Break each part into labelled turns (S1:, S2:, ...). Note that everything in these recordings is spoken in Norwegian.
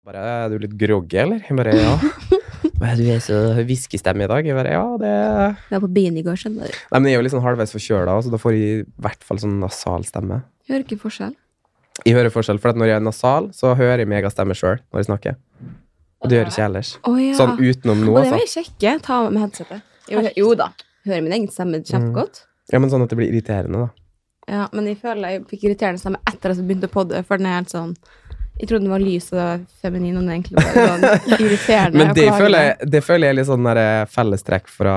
S1: Bare, er du litt groggy, eller? Jeg bare, ja. Bare, du er så hviskestemme i dag. Jeg bare, ja, det
S2: Jeg var på byen i går, skjønner du.
S1: Nei, men jeg er jo litt sånn halvveis forkjøla, så da får jeg i hvert fall sånn nasal stemme.
S2: Jeg hører ikke forskjell.
S1: Jeg hører forskjell, for at når jeg er nasal, så hører jeg megastemme sjøl når jeg snakker. Og det gjør jeg ikke ellers.
S2: Å ja.
S1: Sånn utenom nå,
S2: Og det
S1: altså.
S2: vil jeg sjekke. Ta med headsetet. Jo,
S3: Helt.
S2: jo da. Hører min egen stemme kjempegodt.
S1: Ja, men sånn at det blir irriterende, da.
S2: Ja, men jeg føler jeg fikk irriterende stemme etter at jeg begynte å podde, for den er helt sånn Jeg trodde den var lys og feminin, og den er egentlig bare sånn irriterende.
S1: Men
S2: og
S1: det
S2: plagende.
S1: føler, jeg, det føler jeg er litt sånn der fellestrekk fra,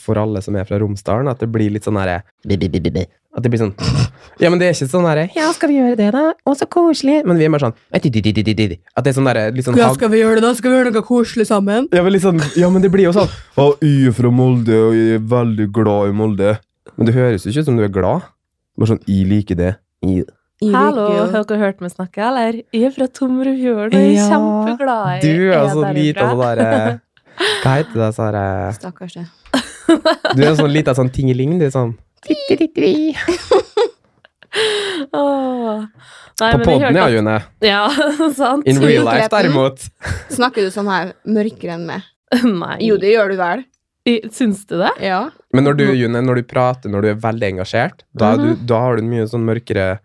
S1: for alle som er fra Romsdalen. At det blir litt sånn derre At det blir sånn Ja, men det er ikke sånn derre Ja, skal vi gjøre det, da? Å, så koselig. Men vi er mer sånn At det er sånn derre litt sånn hag-
S2: skal vi gjøre det, da? Skal vi gjøre noe koselig sammen?
S1: ja, men litt sånn, ja, men det blir jo sånn
S4: Ja, jeg er fra Molde, og jeg er veldig glad i Molde.
S1: Men det høres jo ikke ut som du er glad.
S4: Bare sånn, jeg liker det.
S3: Hallo, har dere hørt meg snakke, eller? Jeg er fra Tomrefjorden, og jeg
S1: Ja,
S3: er kjempeglad i
S1: Du er
S3: jeg
S1: sånn lite av det derre Hva heter det, sånn derre
S2: Stakkars det.
S1: Du er sånn lita sånn tingeling. Du er sånn
S3: Åh. Nei,
S1: På
S3: men jeg
S1: poden, ja,
S3: hørte-
S1: June.
S3: Ja, sant.
S1: In real
S2: Utelepten.
S1: life, derimot.
S2: Snakker du sånn her mørkere enn meg?
S3: Nei.
S2: Jo, det gjør du vel?
S3: I- Syns du det?
S2: Ja.
S1: Men når du, June, når du prater, når du er veldig engasjert, da, er du, da har du en mye sånn mørkere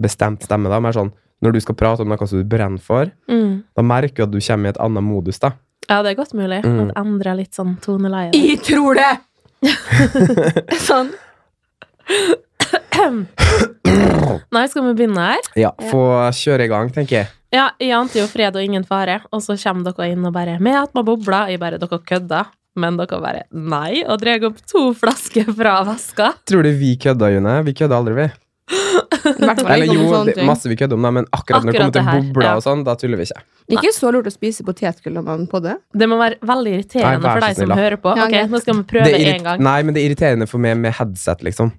S1: bestemt stemme. da, mer sånn, Når du skal prate om noe som du brenner for,
S3: Mm.
S1: da merker du at du kommer i et annet modus. da.
S3: Ja, det er godt mulig.
S1: Mm.
S3: At endrer litt sånn toneleie.
S2: Jeg tror det! sånn.
S3: Nei, skal vi begynne her?
S1: Ja, Få kjøre i gang, tenker jeg.
S3: Ja, jeg ante jo fred og ingen fare, og så kommer dere inn og bare med at man bobler. Jeg bare, dere kødder. Men dere bare nei, og drar opp to flasker fra veska.
S1: Tror du vi kødda, June? Vi kødda aldri, vi.
S2: I hvert fall
S1: Eller
S2: ikke om
S1: jo,
S2: sånne
S1: det,
S2: ting.
S1: masse vi kødder om, da, men akkurat, når det
S3: Akkurat
S1: kommer til
S3: det her,
S1: bobler
S3: ja.
S1: og sånn, da tuller vi ikke.
S2: Det er ikke så lurt å spise potetgull når man podder.
S3: Det må være veldig irriterende
S1: Nei, vær
S3: for
S1: så
S3: deg som
S1: snill, da.
S3: hører på.
S2: Ja,
S3: Ok,
S2: greit.
S3: nå skal vi prøve
S1: irri-
S3: en gang.
S1: Nei, men det er irriterende for meg med headset, liksom.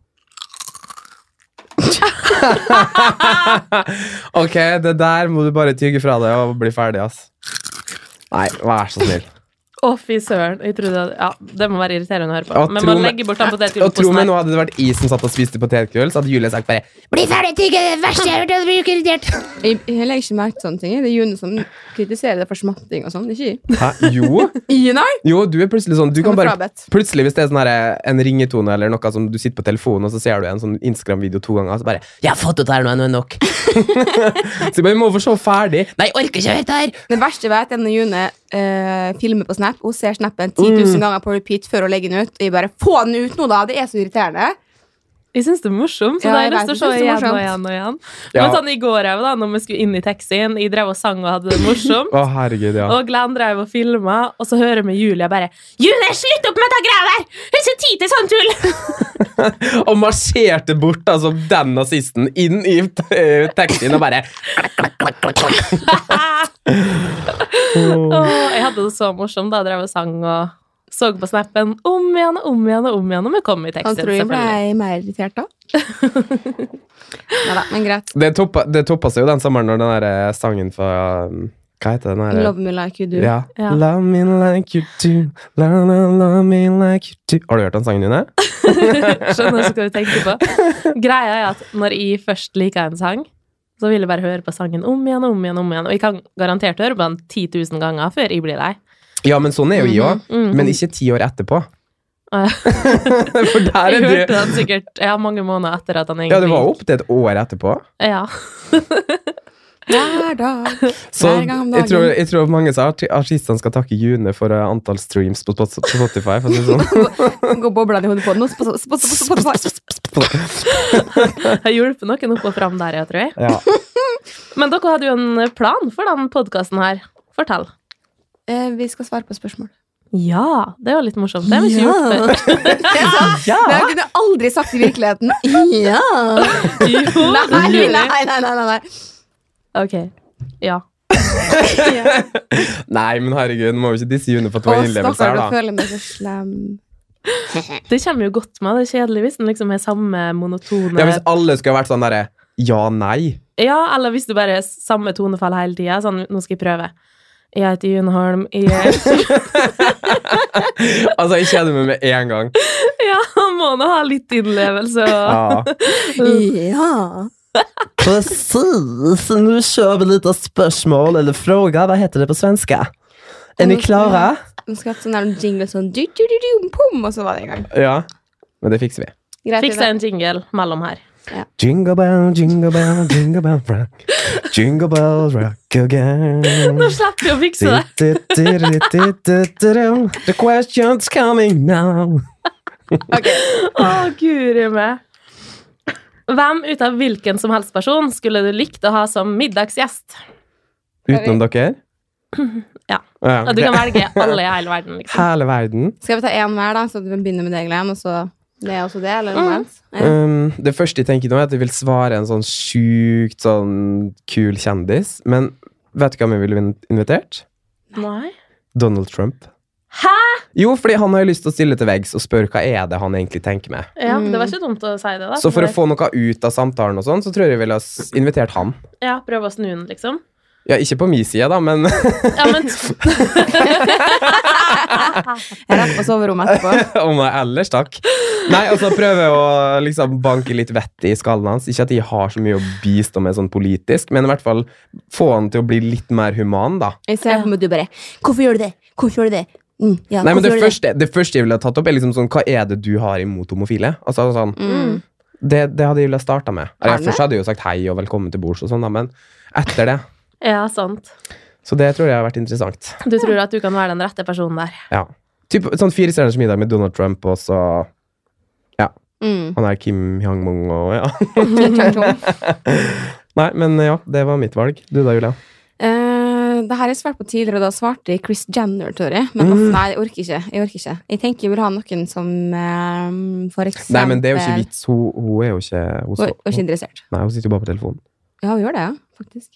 S1: ok, det der må du bare tygge fra deg og bli ferdig, ass. Nei, vær så snill.
S3: Å, fy søren. Jeg trodde at, ja, det må være irriterende å høre på.
S1: Ja,
S3: Men
S1: tro
S3: man
S1: meg-
S3: legger bort den
S1: Og
S3: potetgullet på
S1: tro meg,
S3: snei.
S1: nå hadde det vært jeg som satt og spiste potetgull, så hadde Julie sagt bare
S2: Bli ferdig, tygge! Det verste jeg har hørt, blir ikke irritert. Jeg, jeg legger ikke merke til sånne ting. Det er June som kritiserer det for smatting og sånn. Ikke jeg.
S1: Hæ, jo?
S2: I, nei!
S1: Jo, du er plutselig sånn, du kan bare
S2: frabedt.
S1: Plutselig, hvis det er sånn her, en ringetone eller noe som du sitter på telefonen, og så ser du en sånn Instagram-video to ganger, så bare 'Jeg har fått det her nå, nå er det nok'. så jeg bare må få se ferdig. Nei, jeg orker ikke å høre det her!
S2: Det verste jeg vet, er når June eh, filmer på Snap. Hun ser snappen 10 000 ganger på repeat før hun legger den ut. Og jeg bare Få den ut nå, da! Det er så irriterende.
S3: Jeg syns det er morsomt, så
S2: Ja,
S3: da har
S2: jeg
S3: jeg lyst til
S2: vet,
S3: å
S2: jeg synes
S3: se igjen
S2: det er
S3: og igjen og igjen.
S1: Ja.
S3: Men sånn i går òg, da når vi skulle inn i taxien, jeg drev og sang og hadde det morsomt.
S1: Å, herregud, ja.
S3: Og Glenn drev og filma, og så hører vi Julia bare 'Julie, slutt opp med det greia der! Hun har ikke tid til sånn tull!'
S1: Og marsjerte bort altså, den nazisten inn i eh, taxien og bare klakk, klakk, klakk, klakk, klakk.
S3: Åh, jeg hadde det så morsomt da jeg drev og sang og så på snappen om igjen og om igjen og om igjen, og vi kom i
S2: Han
S3: taxien,
S2: tror jeg ble
S3: selvfølgelig.
S2: mer irritert da. Nei da, men greit.
S1: Det toppa, det toppa seg jo den sommeren når den der eh, sangen fra um, Hva heter den der?
S2: Love me like you do.
S1: ja.
S3: Ja.
S1: Love me like you do. La, la, love me like you do. Har du hørt den sangen din?
S3: Skjønner ikke hva du tenker på. Greia er at når jeg først liker en sang, så vil jeg bare høre på sangen om igjen og om igjen. om igjen Og jeg kan garantert høre på den 10 000 ganger før jeg blir lei.
S1: Ja, men sånn er jo jeg òg.
S3: Mhm.
S1: Men ikke ti år etterpå.
S3: Ah,
S1: For der
S3: Jeg
S1: er
S3: hørte
S1: du
S3: den sikkert ja, mange måneder etter at den
S1: Ja,
S3: egentlig
S1: det var opptil et år etterpå.
S3: Ja.
S2: Hver dag.
S1: Så
S2: Hver gang om
S1: jeg
S2: dagen.
S1: tror, jeg tror mange av arti- artistene skal takke June for eh, antall streams på Spot- Spotify. For å si det sånn.
S2: Går boblene i hodet på den. og sp- sp- sp- sp- sp- sp-
S3: Jeg hjulpet noen opp og fram der, jeg tror jeg.
S1: Ja.
S3: Men dere hadde jo en plan for den podkasten her. Fortell.
S2: Eh, Vi skal svare på spørsmål.
S3: Ja, det var litt morsomt. Det har vi ikke gjort før.
S2: Det har jeg aldri sagt i virkeligheten. Ja!
S3: Jo,
S2: Nei,
S3: det
S2: nei,
S3: gjorde jeg.
S2: nei, nei, nei, nei.
S3: Ok. Ja.
S1: Nei, men herregud, nå må vi ikke disse June for at det
S2: Å,
S1: var innlevelse
S2: stakkar,
S1: her,
S2: du
S1: da.
S2: føler meg så slem.
S3: Det kommer jo godt med. Det er kjedelig hvis den liksom er samme monotone
S1: Ja, hvis alle skulle vært sånn derre ja, nei.
S3: Ja, eller hvis du bare er samme tonefall hele tida. Sånn, nå skal jeg prøve. Jeg heter June Holm. Jeg
S1: Altså, jeg kjeder meg med en gang.
S3: ja, må nå ha litt innlevelse og
S1: Ja.
S2: Ja!
S1: Precis, nu kör vi lite spörsmål eller fråga. Vad heter det på svenska? Är ni klara?
S2: Hun skulle hatt sånn der jingle sånn du, du, du, du, pum, Og så var det i gang.
S1: Ja, men det fikser vi.
S2: Greit,
S3: Fiks
S2: Ida.
S3: deg en jingle mellom her.
S1: Jingle bell, jingle bell, jingle bell rock. Jingle bell rock again.
S3: Nå slipper vi å fikse det.
S1: Du-du-du-du-du-du-du. The question's coming now.
S3: Å, guri meg. Hvem ut av hvilken som helst person skulle du likt å ha som middagsgjest?
S1: Utenom dere?
S3: Ja.
S1: ja.
S3: At du kan velge alle i hele verden, liksom.
S1: Hele verden.
S2: Skal vi ta én hver, da? Så du kan begynne med deg, Glenn, og så det er også det? Eller noe annet? Ja.
S1: Um, det første jeg tenker nå, er at jeg vil svare en sånn sjukt sånn kul kjendis. Men vet du hvem jeg ville invitert?
S3: Nei.
S1: Donald Trump.
S3: Hæ?
S1: Jo, fordi han har jo lyst til å stille til veggs og spørre hva er det han egentlig tenker med.
S3: Ja,
S2: Mm.
S3: det var ikke dumt å si det, da.
S1: Så for å få noe ut av samtalen og sånn, så tror jeg jeg ville ha s- invitert han.
S3: Ja, prøve å snu den, liksom.
S1: Ja, ikke på min side, da, men
S3: Ja, men
S2: Jeg er rett på soverommet etterpå.
S1: om jeg ellers, takk. Nei, og så prøve å liksom banke litt vett i skallen hans. Ikke at jeg har så mye å bistå med sånn politisk, men i hvert fall få han til å bli litt mer human, da.
S2: Jeg ser for meg at du bare Hvorfor gjør du det? Hvorfor gjør du det? Mm, ja,
S1: Nei, men det
S2: hvorfor gjør du
S1: første, det første jeg ville ha tatt opp, er liksom sånn Hva er det du har imot homofile? Altså sånn
S2: Mm.
S1: Det, det hadde jeg ville starta med.
S2: Har
S1: Jeg
S2: du det?
S1: først hadde jeg jo sagt hei og velkommen til bords og sånn, da, men etter det.
S3: Ja, sant.
S1: Så det tror jeg har vært interessant.
S3: Du tror at du kan være den rette personen der.
S1: Ja. Typ, sånn Fire stjerners middag med Donald Trump og så
S2: Mm.
S1: han der Kim Hyang-mong og ja.
S2: Ching, chang, chong.
S1: Nei, men ja, det var mitt valg. Du da, Julia?
S2: Eh, det her har jeg svart på tidligere, og da svarte jeg Chris Jenner, tror jeg. Men
S1: Mm.
S2: uff, nei, jeg orker ikke. Jeg orker ikke. Jeg tenker jeg vil ha noen som eh, for eksempel
S1: Nei, men det er jo ikke vits. Hun, hun er jo ikke hun,
S2: Hun hun er ikke
S1: hun,
S2: interessert.
S1: Nei, hun sitter jo bare på telefonen.
S2: Ja, hun gjør det, ja, faktisk.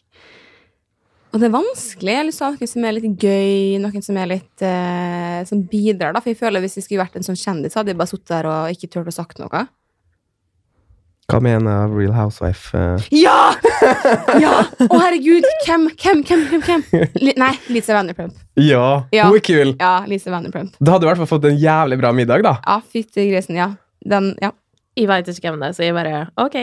S2: Og det er vanskelig. Jeg har lyst til å ha noen som er litt gøy, noen som er litt eh, Som bidrar, da. For jeg føler hvis jeg skulle vært en sånn kjendis, så hadde jeg bare sittet der og ikke turt å sagt noe.
S1: Hva mener Real Housewife? eh?
S2: Ja! Ja! Å, herregud! Hvem, hvem, hvem? hvem, hvem? Li nei, Lisa Vanderplump.
S1: Ja,
S2: Ja.
S1: hun er kul!
S2: Ja, Lisa Vanderplump.
S1: Da hadde du i hvert fall fått en jævlig bra middag, da.
S2: Ja, fytti grisen, ja. Den, ja.
S3: Jeg veit ikke hvem det er, så jeg bare OK.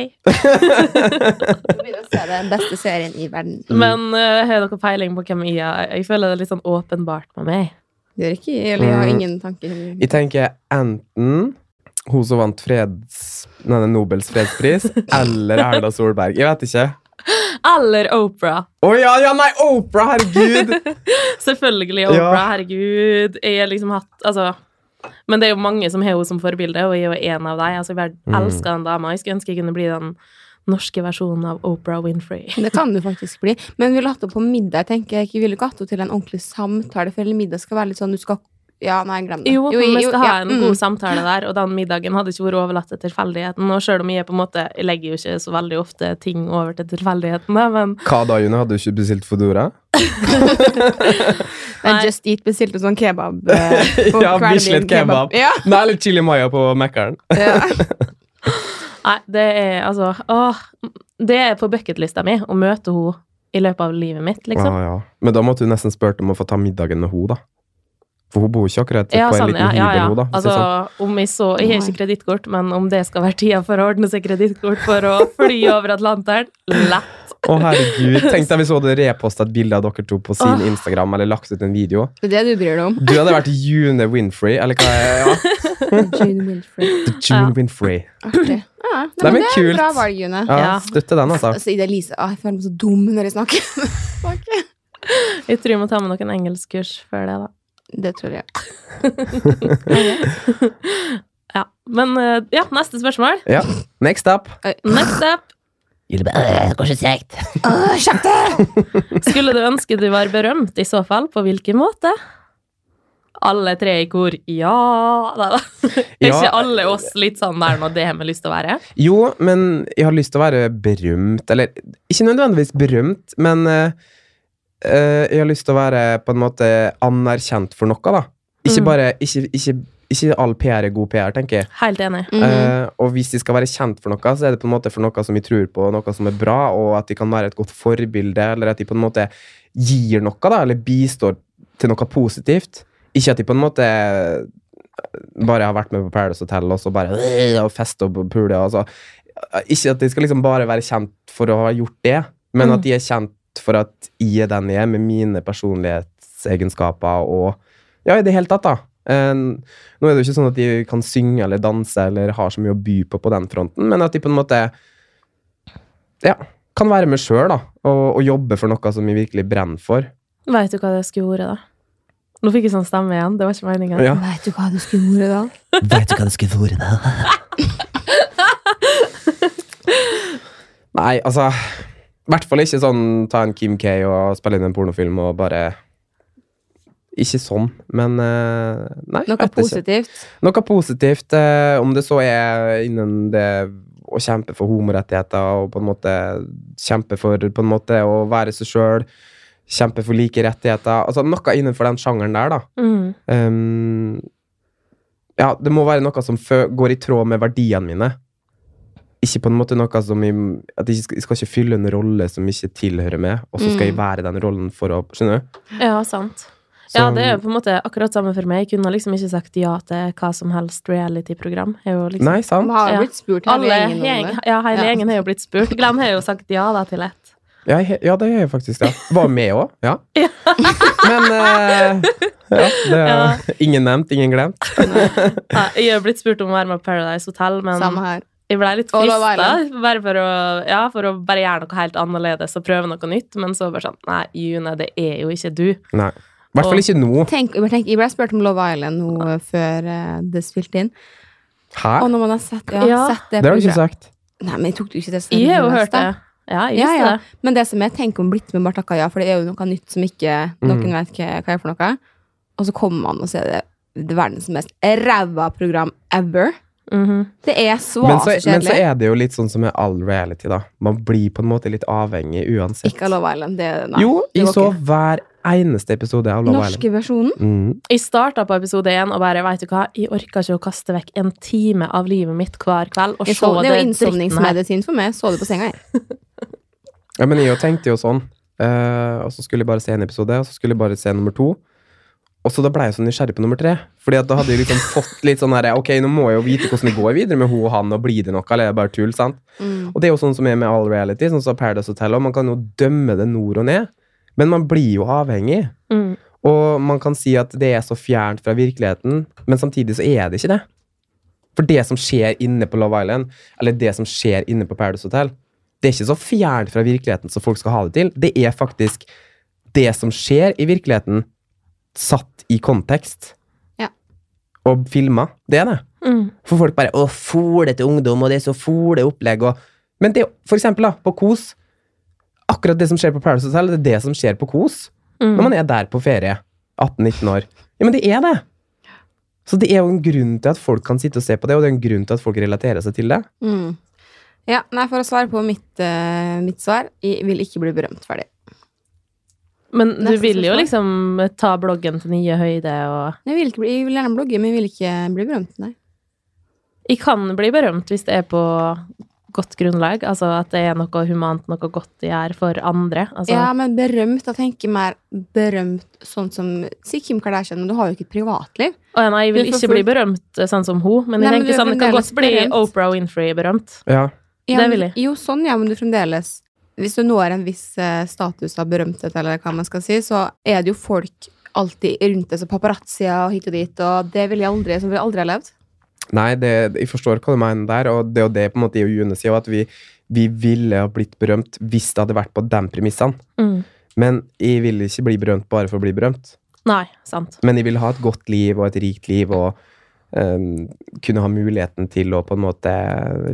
S2: begynner å se den beste serien i verden.
S1: Mm.
S3: Men eh, har dere peiling på hvem jeg er? Jeg føler det er litt sånn åpenbart med meg.
S2: Det gjør ikke Eller jeg har
S1: Mm.
S2: ingen tanker.
S1: Jeg tenker enten hun som vant freds, nei, nei, Nobels fredspris, eller Erna Solberg. Jeg vet ikke.
S3: Eller Opera.
S1: Å ja, ja, nei, Opera! Herregud!
S3: Selvfølgelig
S1: Ja.
S3: Opera. Herregud. Jeg har liksom hatt Altså. Men det er jo mange som har henne som forbilde, og jeg er jo en av dem. Altså, jeg bare
S1: Mm.
S3: elsker den dama. Jeg skulle ønske jeg kunne bli den norske versjonen av Opera Winfrey.
S2: Det kan du faktisk bli. Men vi ville hatt henne på middag. tenker jeg. Jeg ville ikke hatt henne til en ordentlig samtale. For hele middag skal være litt sånn du skal Ja, nei, glem det.
S3: Jo,
S2: jeg-
S3: vi skal ha
S2: ja,
S3: en
S2: mm.
S3: god samtale der, og den middagen hadde ikke vært overlatt til tilfeldigheten. Og selv om jeg er på en måte Jeg legger jo ikke så veldig ofte ting over til tilfeldigheten, da, men
S1: Hva da, June? Hadde du ikke bestilt Foodora?
S2: Nei,
S3: Nei.
S2: Just Eat bestilte sånn kebab. eh, på
S1: Ja,
S2: kvelden
S1: Bislett
S2: din, kebab.
S1: kebab.
S2: Ja.
S1: Nei, eller Chili Maya på Mækkern.
S2: ja.
S3: Nei, det er altså åh, Det er på bucketlista mi å møte henne i løpet av livet mitt, liksom.
S1: Ah, ja. Men da måtte du nesten spurt om å få ta middagen med henne, da. For hun bor jo ikke akkurat på en
S3: sånn,
S1: liten hybel, hun, da. hvis det
S3: Altså,
S1: er sånn.
S3: om jeg så Jeg har
S2: Nei.
S3: ikke kredittkort, men om det skal være tida for å ordne seg kredittkort for å fly over Atlanteren lett.
S1: Å, herregud. Tenk deg hvis hun hadde reposta et bilde av dere to på sin
S3: Åh.
S1: Instagram, eller lagt ut en video.
S2: Det er det du bryr deg om.
S1: Du hadde vært June Winfrey, eller hva er ja.
S2: June Wilfred.
S1: The June
S3: Ja.
S1: Winfrey.
S2: Artig. Ja,
S1: Det er
S2: nei, men
S1: vel
S2: det er
S1: kult.
S2: bra valg, June.
S1: Ja,
S3: Ja.
S1: støtte den, altså.
S2: Altså, Ida Lise, ah, jeg føler meg så dum når jeg snakker. snakker.
S3: Jeg tror jeg må ta med noen engelskkurs før det, da.
S2: Det tror jeg.
S3: Ja. Men eh, ja, neste spørsmål.
S1: Ja. Next up.
S3: Next up.
S1: øh,
S2: Åh, Kjapt!
S3: Skulle du ønske du var berømt, i så fall, på hvilken måte? Alle tre i kor. Ja da, da. Er
S1: Ja.
S3: ikke alle oss litt sånn der nå, det har vi lyst til å være?
S1: Jo, men jeg har lyst til å være berømt. Eller ikke nødvendigvis berømt, men eh, eh, jeg har lyst til å være på en måte anerkjent for noe, da. Ikke
S3: Mm.
S1: bare Ikke, ikke, ikke all PR er god PR, tenker jeg.
S3: Helt enig.
S2: Mhm.
S1: Eh, og hvis de skal være kjent for noe, så er det på en måte for noe som vi tror på, noe som er bra, og at de kan være et godt forbilde, eller at de på en måte gir noe, da, eller bistår til noe positivt. Ikke at de på en måte eh, bare har vært med på Paradise Hotel og så bare øh, og feste og pule. Og så. Ikke at de skal liksom bare være kjent for å ha gjort det, men
S3: Mm.
S1: at de er kjent for at jeg er den jeg er, med mine personlighetsegenskaper og Ja, i det hele tatt, da. En- nå er det jo ikke sånn at de kan synge eller danse eller har så mye å by på på den fronten, men at de på en måte Ja, kan være med sjøl, da, og, og jobbe for noe som jeg virkelig brenner for.
S3: Veit du hva det skulle vært, da? Nå fikk jeg sånn stemme igjen. Det var ikke meninga.
S1: Ja.
S2: Veit du hva du skulle gjort da?
S1: Veit du hva det skulle vært, da? Nei, altså I hvert fall ikke sånn ta en Kim K og spille inn en pornofilm og bare Ikke sånn, men eh, Nei.
S2: Noe
S1: vet ikke.
S2: positivt?
S1: Noe positivt, eh, om det så er innen det å kjempe for homorettigheter og på en måte kjempe for på en måte å være seg sjøl, kjempe for like rettigheter Altså noe innenfor den sjangeren der, da.
S3: Mm.
S1: Ehm, ja, det må være noe som fø- går i tråd med verdiene mine. Ikke på en måte noe som jeg, at jeg, skal, jeg skal ikke fylle en rolle som ikke tilhører meg, og så skal jeg
S2: Mm.
S1: være den rollen for å Skjønner du?
S3: Ja, sant.
S1: Så-
S3: Ja, det er jo på en måte akkurat samme for meg. Jeg kunne liksom ikke sagt ja til hva som helst reality-program. Jeg er jo Liksom,
S1: Nei,
S2: Vi
S1: sant?
S2: har
S3: Ja.
S2: jo blitt spurt hele
S3: alle
S2: gjengen om
S3: gjeng,
S2: det.
S3: ja, hele
S2: Ja.
S3: gjengen har jo blitt spurt. Glenn har jo sagt ja da til ett.
S1: Ja, jeg, ja det er jeg faktisk. Ja. Var med òg, ja.
S3: Ja.
S1: Men eh, ja, det er
S3: Ja.
S1: ingen nevnt, ingen glemt.
S3: Ja, jeg har blitt spurt om å være med på Paradise Hotel, men
S2: Samme her.
S3: jeg ble litt
S2: Og Love
S3: frista. Bare for å, ja, for å bare gjøre noe helt annerledes og prøve noe nytt. Men så bare sånn Nei, June, det er jo ikke du.
S1: Nei. I hvert fall ikke nå.
S2: Tenk, jeg bare tenker- jeg ble spurt om Love Island nå eh, før eh, det spilte inn.
S1: Hæ?
S2: Og når man har sett, ja,
S3: Ja.
S2: sett det,
S1: Det har du ikke
S2: programmet-
S1: sagt.
S2: Nei, men jeg tok det jo ikke det
S3: Jeg har jo
S2: seriøst,
S3: hørt
S2: da.
S3: det. Ja, jeg
S2: Ja,
S3: visste
S2: ja.
S3: det.
S2: Men det som jeg tenker om blitt med bare takka ja, for det er jo noe nytt som ikke noen
S1: Mm.
S2: vet hva, hva er for noe. Og så kommer man og ser det, det verdens mest ræva program ever.
S3: Mhm.
S2: Det er
S1: Men
S2: svakt
S1: så,
S2: kjedelig.
S1: men så er det jo litt sånn som med all reality, da. Man blir på en måte litt avhengig uansett.
S2: Ikke av Love Island. Det, nei.
S1: jo,
S2: det
S1: jeg
S2: går
S1: så
S2: ikke.
S1: hver eneste episode av Love Island.
S2: Norske versjonen?
S1: Mm.
S3: Jeg starta på episode én og bare Veit du hva, jeg orka ikke å kaste vekk en time av livet mitt hver kveld og
S2: Jeg
S3: se
S2: så, det er jo
S3: det dritten her.
S2: innsovningsmedisin for meg. Jeg Så det på senga, jeg.
S1: Ja, men jeg jo tenkte jo sånn. eh, og så skulle jeg bare se en episode, og så skulle jeg bare se nummer to. Og så da ble jeg så nysgjerrig på nummer tre. Fordi at da hadde jeg liksom fått litt sånn herre Ok, nå må jeg jo vite hvordan det går videre med hun og han, og blir det noe, eller er det bare tull? sant?
S2: Mm.
S1: Og det er jo sånn som er med all reality, sånn som Paradise Hotel, og man kan jo dømme det nord og ned. Men man blir jo avhengig.
S3: Mm.
S1: Og man kan si at det er så fjernt fra virkeligheten, men samtidig så er det ikke det. For det som skjer inne på Love Island, eller det som skjer inne på Paradise Hotel, det er ikke så fjernt fra virkeligheten som folk skal ha det til. Det er faktisk det som skjer i virkeligheten, satt i kontekst.
S2: Ja.
S1: Og filma. Det er det.
S3: Mm.
S1: For folk bare 'Å, folete ungdom, og det er så fole opplegg', og Men det, for eksempel, da, på Kos Akkurat det som skjer på Paradise Hotel, det er det som skjer på Kos
S3: Mm.
S1: når man er der på ferie. 18-19 år. Ja, men det er det! Så det er jo en grunn til at folk kan sitte og se på det, og det er en grunn til at folk relaterer seg til det.
S2: Mm. Ja, nei, for å svare på mitt, eh, mitt svar Jeg vil ikke bli berømt ferdig.
S3: Men du
S2: Neste
S3: vil jo
S2: spørsmål.
S3: liksom ta bloggen til nye høyder, og
S2: Jeg vil, ikke bli, jeg vil gjerne blogge, men jeg vil ikke bli berømt, nei.
S3: Jeg kan bli berømt hvis det er på godt grunnlag, altså at det er noe humant, noe godt jeg gjør for andre. Altså,
S2: Ja, men berømt, da tenker jeg mer berømt sånn som Si Kim Kardashian, men du har jo ikke et privatliv.
S3: Å, nei, jeg vil
S2: Du får
S3: ikke
S2: full-
S3: bli berømt eh, sånn som hun, men jeg
S2: Nei, men
S3: tenker
S2: du er
S3: sånn, det kan
S2: fremdeles
S3: godt bli
S2: berømt.
S3: Oprah Winfrey berømt.
S1: Ja.
S2: Ja,
S3: Det
S2: men-
S3: vil jeg.
S2: Jo, sånn, ja, men du fremdeles Hvis du når en viss eh, status av berømthet, eller hva man skal si, så er det jo folk alltid rundt deg, så paparazzia og hit og dit, og det vil jeg aldri, som vil jeg aldri ha levd.
S1: Nei, det, jeg forstår hva du mener der, og det er jo det på en måte jeg og June sier, at vi, vi ville ha blitt berømt hvis det hadde vært på de premissene.
S3: Mm.
S1: Men jeg vil ikke bli berømt bare for å bli berømt.
S3: Nei, sant.
S1: Men jeg vil ha et godt liv og et rikt liv og ehm, kunne ha muligheten til å på en måte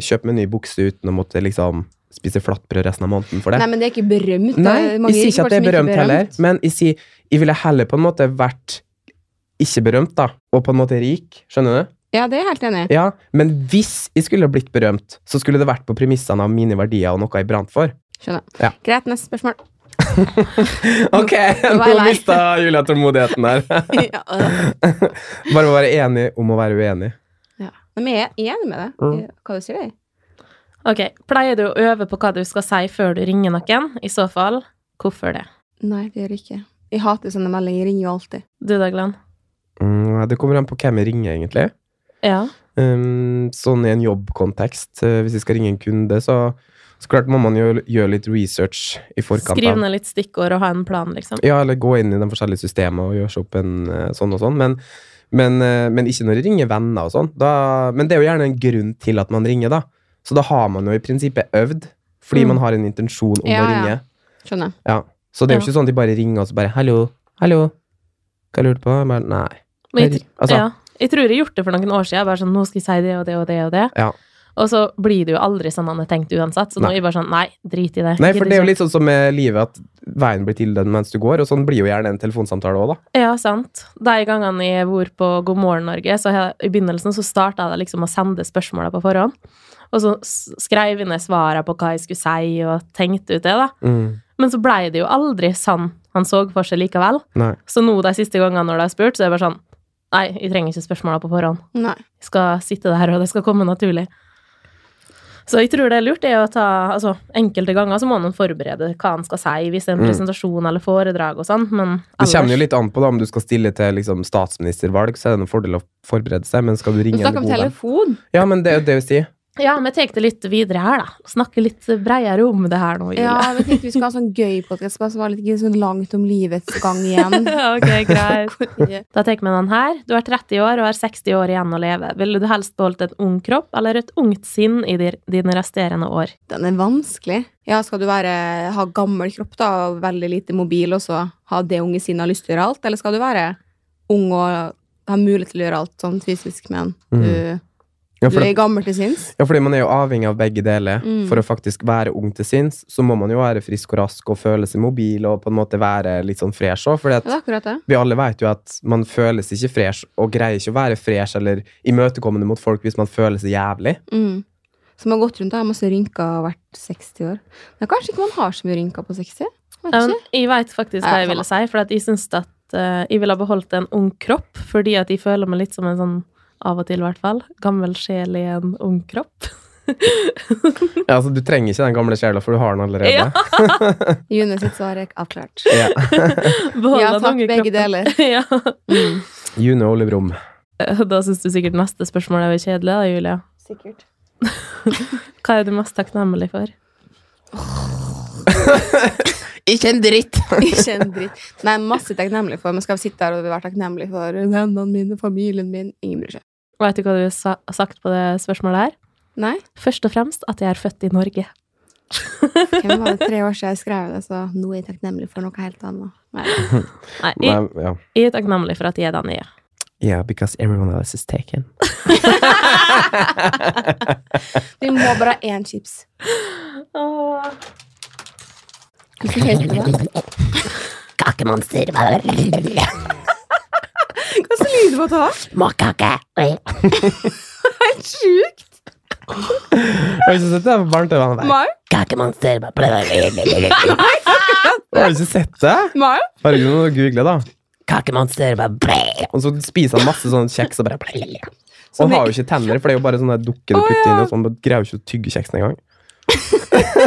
S1: kjøpe meg en ny bukse uten å måtte liksom spise flatbrød resten av måneden for det.
S2: Nei, men det er ikke berømt. det er
S1: Nei,
S2: mange
S1: jeg sier ikke at
S2: folk
S1: det
S2: som
S1: er berømt heller, men jeg sier jeg ville heller på en måte vært ikke berømt, da, og på en måte rik. Skjønner du?
S2: Ja, det er jeg helt enig i.
S1: Ja, Men hvis jeg skulle blitt berømt, så skulle det vært på premissene av mine verdier og noe jeg brant for.
S2: Skjønner.
S1: Ja.
S2: Greit, neste spørsmål.
S1: Ok,
S2: nå var
S1: nå
S2: jeg lei.
S1: mista Julia tålmodigheten der.
S2: ja, øh.
S1: Bare være enig om å være uenig.
S2: ja. Men jeg er enig med deg.
S1: Mm.
S2: Hva du sier, jeg.
S3: Ok, pleier du å øve på hva du skal si før du ringer noen? I så fall, hvorfor det?
S2: Nei, det gjør jeg ikke. Jeg hater sånne meldinger. Jeg ringer jo alltid.
S3: Du da, Glenn?
S1: Mm, det kommer an på hvem jeg ringer, egentlig.
S3: Ja.
S1: Um, sånn i en jobbkontekst, eh, hvis vi skal ringe en kunde, så, så klart må man gjøre, gjøre litt research i forkant. av-
S3: Skriv ned litt stikkord og ha en plan, liksom.
S1: Ja, eller gå inn i de forskjellige systemene og gjøre seg opp en eh, sånn og sånn. Men, men, eh, men ikke når jeg ringer venner og sånn. Da, men det er jo gjerne en grunn til at man ringer, da. Så da har man jo i prinsippet øvd, fordi
S3: Mm.
S1: man har en intensjon om å
S2: Ja, ja.
S1: ringe.
S2: Skjønner.
S1: Ja. Så det er jo
S3: Ja.
S1: ikke sånn at de bare ringer og så bare 'Hallo, hallo, hva lurer du på?' Jeg bare, Nei.
S3: Men jeg, tr-
S1: Altså-
S3: ja, jeg tror jeg har gjort det for noen år siden. Bare sånn, nå skal jeg si det og det og det og det.
S1: Ja.
S3: Og så blir det jo aldri sånn man har tenkt uansett. Så nå
S1: Nei.
S3: er jeg bare sånn, nei, drit i det.
S1: Nei, for
S3: Gidder
S1: det er jo
S3: ikke. liksom.
S1: litt sånn som med livet, at veien blir til den mens du går, og sånn blir jo gjerne en telefonsamtale òg, da.
S3: Ja, sant. De gangene jeg har vært på God morgen Norge, så har jeg, i begynnelsen så starta jeg liksom å sende spørsmåla på forhånd. Og så s- skrev jeg ned svarene på hva jeg skulle si, og tenkte ut det, da. Men så blei det jo aldri sånn han så for seg likevel.
S1: Nei.
S3: Så nå de siste gangene når de har spurt, så er det bare sånn Nei, jeg trenger ikke spørsmåla på forhånd.
S2: Nei.
S3: Jeg skal sitte der, og det skal komme naturlig. Så jeg tror det er lurt det å ta altså, Enkelte ganger så må man forberede hva han skal si, hvis det er en
S1: Mm.
S3: presentasjon eller foredrag og sånn, men
S1: Det kommer jo litt an på da, om du skal stille til liksom, statsministervalg, så er det en fordel å forberede seg, men skal du
S2: Du
S1: ringe en
S2: snakker om
S1: god venn
S2: telefon.
S1: Ja, men det er jo det vi sier.
S3: Ja, vi tar det litt videre her, da. Snakker litt bredere om det her nå,
S2: Ja,
S3: Julie.
S2: men tenkte vi skulle ha en sånn gøy podkast, bare så var det litt sånn langt om livets gang igjen.
S3: ok, greit. Da tar vi den her. Du er 30 år og har 60 år igjen å leve. Ville du helst beholdt en ung kropp eller et ungt sinn i dir- dine resterende år?
S2: Den er vanskelig. Ja, skal du være, ha gammel kropp da, og veldig lite mobil, og så ha det unge sinnet og lyst til å gjøre alt, eller skal du være ung og ha mulighet til å gjøre alt sånn fysisk, men du,
S1: Mm. Ja,
S2: du
S1: for
S2: er
S1: det,
S2: gammel til sinns?
S1: ja, fordi man er jo avhengig av begge deler.
S2: Mm.
S1: For å faktisk være ung til sinns, så må man jo være frisk og rask og føle seg mobil og på en måte være litt sånn fresh òg. For
S2: Ja, det er akkurat det.
S1: vi alle vet jo at man føles ikke fresh og greier ikke å være fresh eller imøtekommende mot folk hvis man føler seg jævlig.
S2: Mm. Som har gått rundt og har masse rynker og vært 60 år. Men kanskje ikke man har så mye rynker på 60? Vet
S3: Um,
S2: ikke.
S3: jeg veit faktisk
S2: Ja,
S3: hva
S2: samme.
S3: jeg ville si, for at jeg syns at eh, jeg ville ha beholdt en ung kropp, fordi at jeg føler meg litt som en sånn, av og til i hvert fall, gammel sjel i en ung kropp.
S1: Ja, altså, du trenger ikke den gamle sjela, for du har den allerede.
S3: Ja.
S2: June sitt svar er avklart.
S1: Ja.
S3: Beholde
S2: Ja
S3: den
S2: takk,
S3: unge
S2: begge
S3: kroppen.
S2: deler.
S3: ja.
S2: Mm.
S1: June Olive Rom.
S3: Da syns du sikkert neste spørsmål er jo kjedelig, da, Julia.
S2: Sikkert.
S3: Hva er du mest takknemlig for?
S1: Ikke en dritt!
S2: Ikke en dritt. Nei, masse takknemlig for. Men skal vi sitte her og være takknemlig for vennene mine, familien min? Ingen bryr seg.
S3: Vet du hva du sa- har sagt på det spørsmålet her?
S2: Nei?
S3: Først og fremst at jeg er født i Norge.
S2: Hvem var det tre år siden jeg skrev det, så nå er jeg takknemlig for noe helt annet. Nei.
S3: Nei, jeg,
S1: Men, ja.
S3: jeg er takknemlig for at jeg er den jeg er.
S1: Yeah, because everyone else is taken.
S2: Vi må bare ha én chips. Hvis du helt på det.
S5: Kakemonster.
S2: Hva slags lyd må du ha?
S5: Småkake. Oi.
S2: Helt sjukt!
S1: Jeg har ikke sett det barn til hverandre.
S2: Mai?
S5: Kakemonster.
S1: Jeg har ikke sett det.
S2: Mai?
S1: Bare ikke noe å google, da.
S5: Kakemonster.
S1: Og så spiser han masse sånn kjeks og bare Og
S2: Sånn
S1: han
S2: i-
S1: har jo ikke tenner, for det er jo bare sånne dukker du
S2: Å,
S1: putter inn,
S2: ja.
S1: og sånn, men greier jo ikke å tygge kjeksen engang.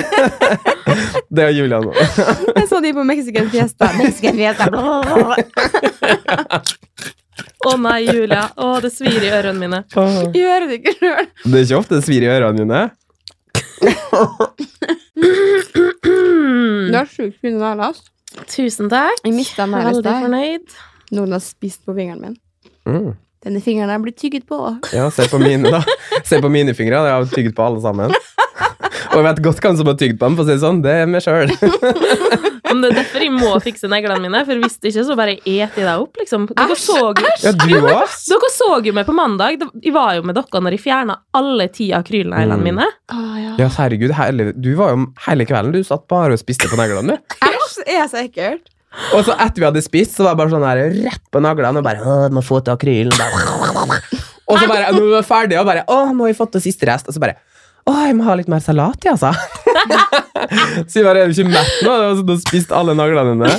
S1: det er Julia nå.
S2: Jeg så de på Mexican Fiesta. Mexican Fiesta.
S3: Å nei, Julia. Å, det svir i ørene mine.
S2: Gjør det ikke sjøl.
S1: Det er ikke ofte det svir i ørene dine.
S2: Du har sjukt fine negler. ass.
S3: Tusen takk.
S2: Jeg mistet meg i
S3: Veldig
S2: sted.
S3: fornøyd.
S2: Noen har spist på fingeren min.
S1: Mm.
S2: Denne fingeren her blir tygget på.
S1: Ja, se på mine, da. Se på mine fingre. Jeg har tygd på alle sammen. Og jeg vet godt hvem som har tygd på dem, for å si det sånn. Det er meg sjøl.
S3: Men det er derfor jeg må fikse neglene mine, for hvis ikke så bare eter jeg deg opp, liksom. Dere så, jo,
S1: Ja, du òg.
S3: dere så jo meg på mandag. Det- Jeg var jo med dere når jeg fjerna alle ti akrylneglene
S1: Mm.
S3: mine.
S2: Å, Ah, ja.
S1: Ja, herregud, hele, du var jo hele kvelden Du satt bare og spiste på neglene, du.
S2: Æsj, er så ekkelt.
S1: Og så etter vi hadde spist, så var det bare sånn her rett på neglene og bare Å, du må få til akrylen. og bare- Og så bare Når vi var ferdige, og bare Å, nå har vi fått til siste rest. Og så bare Å, jeg må ha litt mer salat, ja, altså. så jeg bare Er du ikke mett nå? Du har spist alle neglene dine.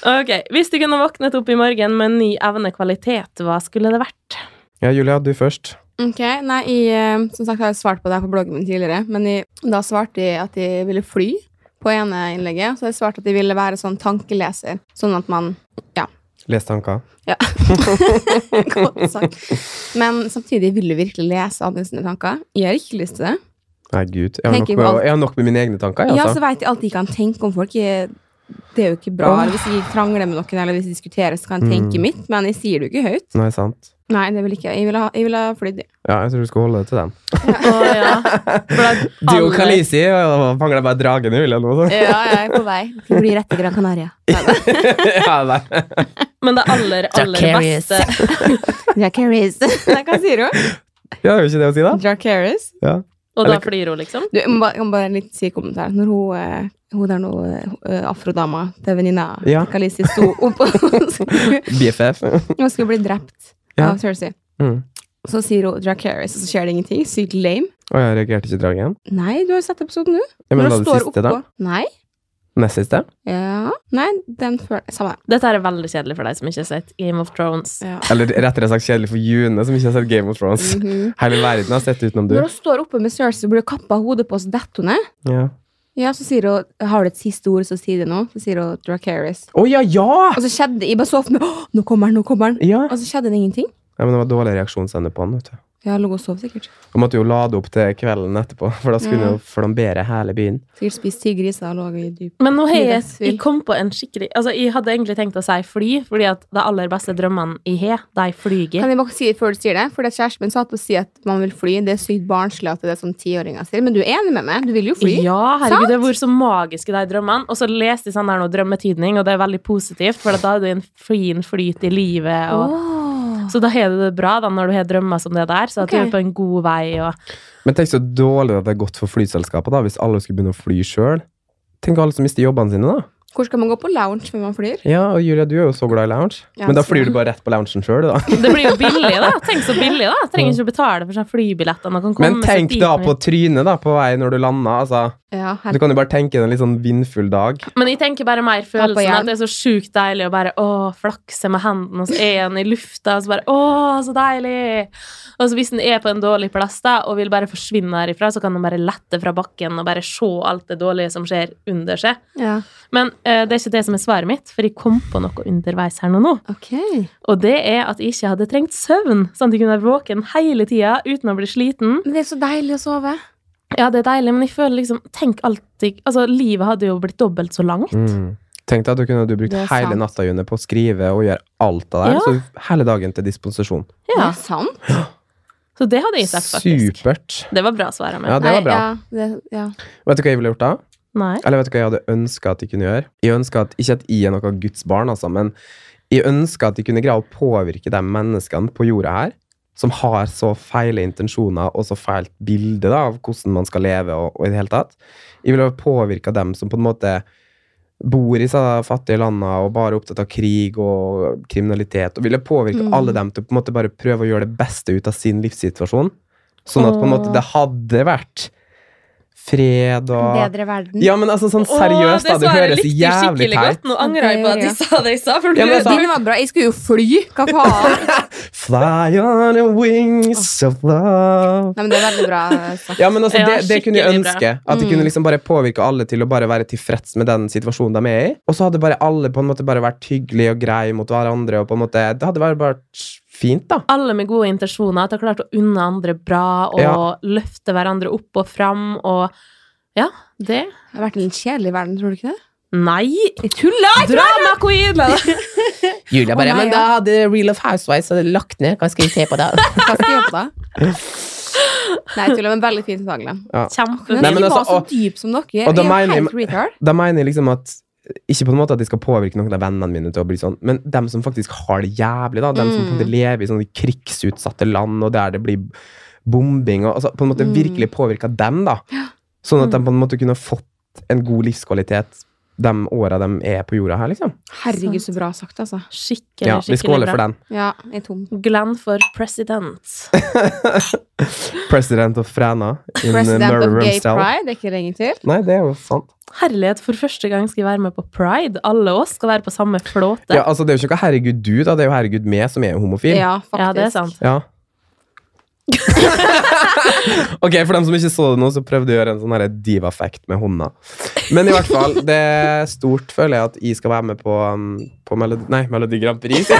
S3: Ok, Hvis du kunne våknet opp i morgen med en ny evnekvalitet, hva skulle det vært?
S1: Ja, Julia, du først.
S2: Ok, nei, jeg, eh, Som sagt har jeg svart på det her på bloggen min tidligere, men jeg, da svarte jeg at jeg ville fly på ene innlegget. Så jeg svarte at jeg ville være sånn tankeleser, sånn at man ja,
S1: Les tanker.
S2: Godt sagt. Men samtidig vil du virkelig lese andre sine tanker. Jeg har ikke lyst til det.
S1: Nei, gud. Jeg har, nok med,
S2: Tenker på alt.
S1: jeg har nok med mine egne tanker. jeg,
S2: Ja,
S1: Altså.
S2: så vet jeg alt jeg kan tenke om folk. Jeg, det er jo ikke bra.
S1: Åh.
S2: Eller hvis jeg krangler med noen, eller hvis jeg diskuterer, så kan jeg tenke
S1: Mm.
S2: mitt. Men jeg sier det jo ikke høyt.
S1: Nei, sant.
S2: Nei, det vil ikke jeg. Vil ha, jeg vil ha flydd.
S1: Ja, jeg tror du skal holde det til dem.
S3: Å, ja. For da
S1: Du og
S3: alle-
S1: Kalisi mangler bare dragen i hullet nå, så.
S2: Ja, jeg er på vei. Til å bli rett til Gran Canaria. Nei, nei.
S1: Ja, nei.
S3: Men det aller, aller
S5: Dracarys.
S3: beste
S2: Dracarys. Nei, hva sier du?
S1: Ja, er jo ikke det å si, da?
S2: Dracarys?
S3: Og da
S1: Eller-
S3: flirer hun, liksom.
S2: Du, jeg må bare, jeg må bare en litt si kommentar. Når hun, eh, hun der nå, eh, afrodama til venninna
S1: Ja.
S2: til Kalisi sto opp og skulle,
S1: BFF.
S2: og skulle bli drept
S1: Ja.
S2: av Thursday,
S1: Mm.
S2: så sier hun Dracarys, og så skjer det ingenting. Sykt lame.
S1: Og jeg reagerte ikke dragen.
S2: Nei, du har jo sett episoden, du.
S1: Jeg mener,
S2: Når
S1: da
S2: hun
S1: det
S2: står
S1: siste, da?
S2: oppå. Nei.
S1: Nest siste?
S2: Ja. Nei, den før Samme det.
S3: Dette her er veldig kjedelig for deg som ikke har sett Game of Thrones.
S2: Ja.
S1: Eller rettere sagt kjedelig for June, som ikke har sett Game of Thrones.
S2: Mhm.
S1: Hele verden har sett utenom du.
S2: Når hun står oppe med Cersei og blir kappa av hodet på, så detter hun ned.
S1: Ja.
S2: Ja, så sier hun Har du et siste ord, så si det nå. Så sier hun Dracarys.
S1: Å ja, ja!
S2: Og så skjedde Jeg bare så for meg «Åh, Nå kommer han, nå kommer han.
S1: Ja.
S2: Og så skjedde det ingenting.
S1: ja, men det var dårlig reaksjonsevne på han, vet du.
S2: Ja, lå og sov sikkert.
S1: Og måtte jo lade opp til kvelden etterpå, for da skulle hun jo flambere hele byen.
S2: Sikkert spist ti griser og lå i dyp
S3: Men nå har jeg,
S2: Middagsfyll.
S3: jeg kom på en skikkelig Altså, jeg hadde egentlig tenkt å si fly, fordi at de aller beste drømmene jeg har, de flyger.
S2: Kan jeg bare si det før du sier det? Fordi at Kjæresten min satt og sier at man vil fly. Det er sykt barnslig at det er det som tiåringer sier. Men du er enig med meg? Du vil jo fly?
S3: Ja,
S2: Sant?
S3: herregud, det har vært så magiske de drømmene. Og så leste jeg sånn her noe drømmetydning, og det er veldig positivt, for at da er du i en fin flyt i livet. Og,
S2: Åh.
S3: Så da har du det bra da, når du har drømmer som det der, så at
S2: Ok.
S3: du er på en god vei. Og,
S1: Men tenk så dårlig at det er godt for flyselskapet, da, hvis alle skulle begynne å fly sjøl. Tenk alle som mister jobbene sine, da.
S2: Hvor skal man gå på lounge før man flyr?
S1: Ja, og Julia, du er jo så glad i lounge.
S2: Ja,
S1: Men da
S2: så-
S1: flyr du bare rett på loungen sjøl, du, da.
S3: det blir jo billig, da. Tenk så billig, da. Trenger ikke å betale for sånn flybilletter. man kan komme
S1: Men
S3: seg
S1: tenk
S3: dit
S1: da
S3: man
S1: på trynet, da, på vei når du lander, altså.
S2: Ja,
S1: Du
S2: her.
S1: kan jo bare tenke deg en litt sånn vindfull dag.
S3: Men jeg tenker bare mer
S2: på
S3: følelsen
S2: hjelm.
S3: at det er så sjukt deilig å bare å, flakse med hendene, og så er den i lufta, og så bare å, så deilig! Og så hvis den er på en dårlig plass da, og vil bare forsvinne herifra, så kan den bare lette fra bakken og bare se alt det dårlige som skjer under seg.
S2: Ja.
S3: Men eh, det er ikke det som er svaret mitt, for jeg kom på noe underveis her nå. nå.
S2: Ok.
S3: Og det er at jeg ikke hadde trengt søvn, sånn at jeg kunne være våken hele tida uten å bli sliten.
S2: Men det er så deilig å sove.
S3: Ja, det er deilig, men jeg føler liksom Tenk alltid Altså, livet hadde jo blitt dobbelt så langt.
S1: Mm. Tenk deg at du kunne du brukt
S2: Det er
S1: hele
S2: sant.
S1: natta June, på å skrive og gjøre alt av det
S3: Ja.
S1: her. Så hele dagen til disposisjon.
S2: Det
S3: Ja.
S2: er sant.
S3: Så det hadde jeg sagt, faktisk.
S1: Supert.
S3: Det var bra svar av meg.
S1: Ja, det var bra.
S2: Nei, ja, det, ja.
S1: Vet du hva jeg ville gjort da?
S3: Nei.
S1: Eller vet du hva jeg hadde ønska at de kunne gjøre? Jeg ønsker at, Ikke at jeg er noe Guds barn, altså, men jeg ønsker at de kunne greie å påvirke de menneskene på jorda her som har så feile intensjoner og så feilt bilde da, av hvordan man skal leve. og, og i det hele tatt. Jeg ville påvirka dem som på en måte bor i så fattige landa og bare er opptatt av krig og kriminalitet. Og ville påvirke
S2: Mm.
S1: alle dem til å på en måte bare prøve å gjøre det beste ut av sin livssituasjon. Sånn at på en måte
S3: Åh.
S1: det hadde vært fred og
S2: Bedre verden.
S1: ja, men altså sånn seriøst, da. Det høres jævlig teit
S3: Nå
S2: angrer jeg på at jeg
S3: sa det jeg sa. For
S1: Ja, men altså- jeg sa-
S2: Din var bra. Jeg skulle jo fly! Hva faen?
S1: Fly on the wings of love.
S2: Nei, men det er veldig bra sagt.
S1: Ja, men altså,
S3: Ja,
S1: det, det kunne jeg
S3: skikkelig bra.
S1: ønske. At det
S2: Mm.
S1: kunne liksom bare påvirke alle til å bare være tilfreds med den situasjonen de er i. Og så hadde bare alle på en måte bare vært hyggelige og greie mot hverandre. Og på en måte, det hadde bare vært fint, da.
S3: alle med gode intensjoner at de har klart å unne andre bra og
S1: Ja.
S3: løfte hverandre opp og fram og Ja, det
S2: Det har vært en litt kjedelig verden, tror du ikke det?
S3: Nei!
S2: Jeg tuller!
S3: Drama queen!
S5: Julia
S2: bare, Å, nei, men da
S5: hadde Real of Housewives lagt ned. Hva skal vi se på da?
S2: Hva skal jeg gjøre på da? Nei, jeg tuller, men veldig fint faglig.
S3: Kjempefint.
S2: Men
S1: Nei,
S2: jeg
S1: men
S2: var så
S1: altså, og-
S2: dyp som dere. Jeg
S1: og da
S2: er jo
S1: mener jeg-
S2: helt retard.
S1: Da mener jeg liksom at ikke på en måte at de skal påvirke noen av vennene mine til å bli sånn, men dem som faktisk har det jævlig, da. Dem som på en måte
S2: Mm.
S1: lever i sånne krigsutsatte land, og der det blir bombing og altså, På en måte
S2: Mm.
S1: virkelig påvirka dem, da. Sånn at de på en måte kunne fått en god livskvalitet de åra de er på jorda her, liksom.
S2: Herregud, så bra sagt, altså.
S3: Skikkelig,
S1: Ja, vi
S3: skikkelig
S1: skåler for
S3: bra.
S1: den.
S2: Ja, jeg er tom.
S3: Glenn for president.
S1: President of Fræna in
S2: President of
S1: Murder
S2: Gay
S1: Room Style.
S2: Pride, det er ikke lenge til.
S1: Nei, det er jo sant.
S3: Herlighet, for første gang skal jeg være med på pride. Alle oss skal være på samme flåte.
S1: Ja, altså, det er jo ikke noe herregud du, da. Det er jo herregud meg som er homofil.
S2: Ja, faktisk.
S3: Ja, det er sant.
S1: Ja. Ok, For dem som ikke så det nå, så prøvde jeg å gjøre en sånn her diva-effekt med hånda. Men i hvert fall, det er stort, føler jeg, at jeg skal være med på, um, på Melodi, nei, Melodi Grand Prix.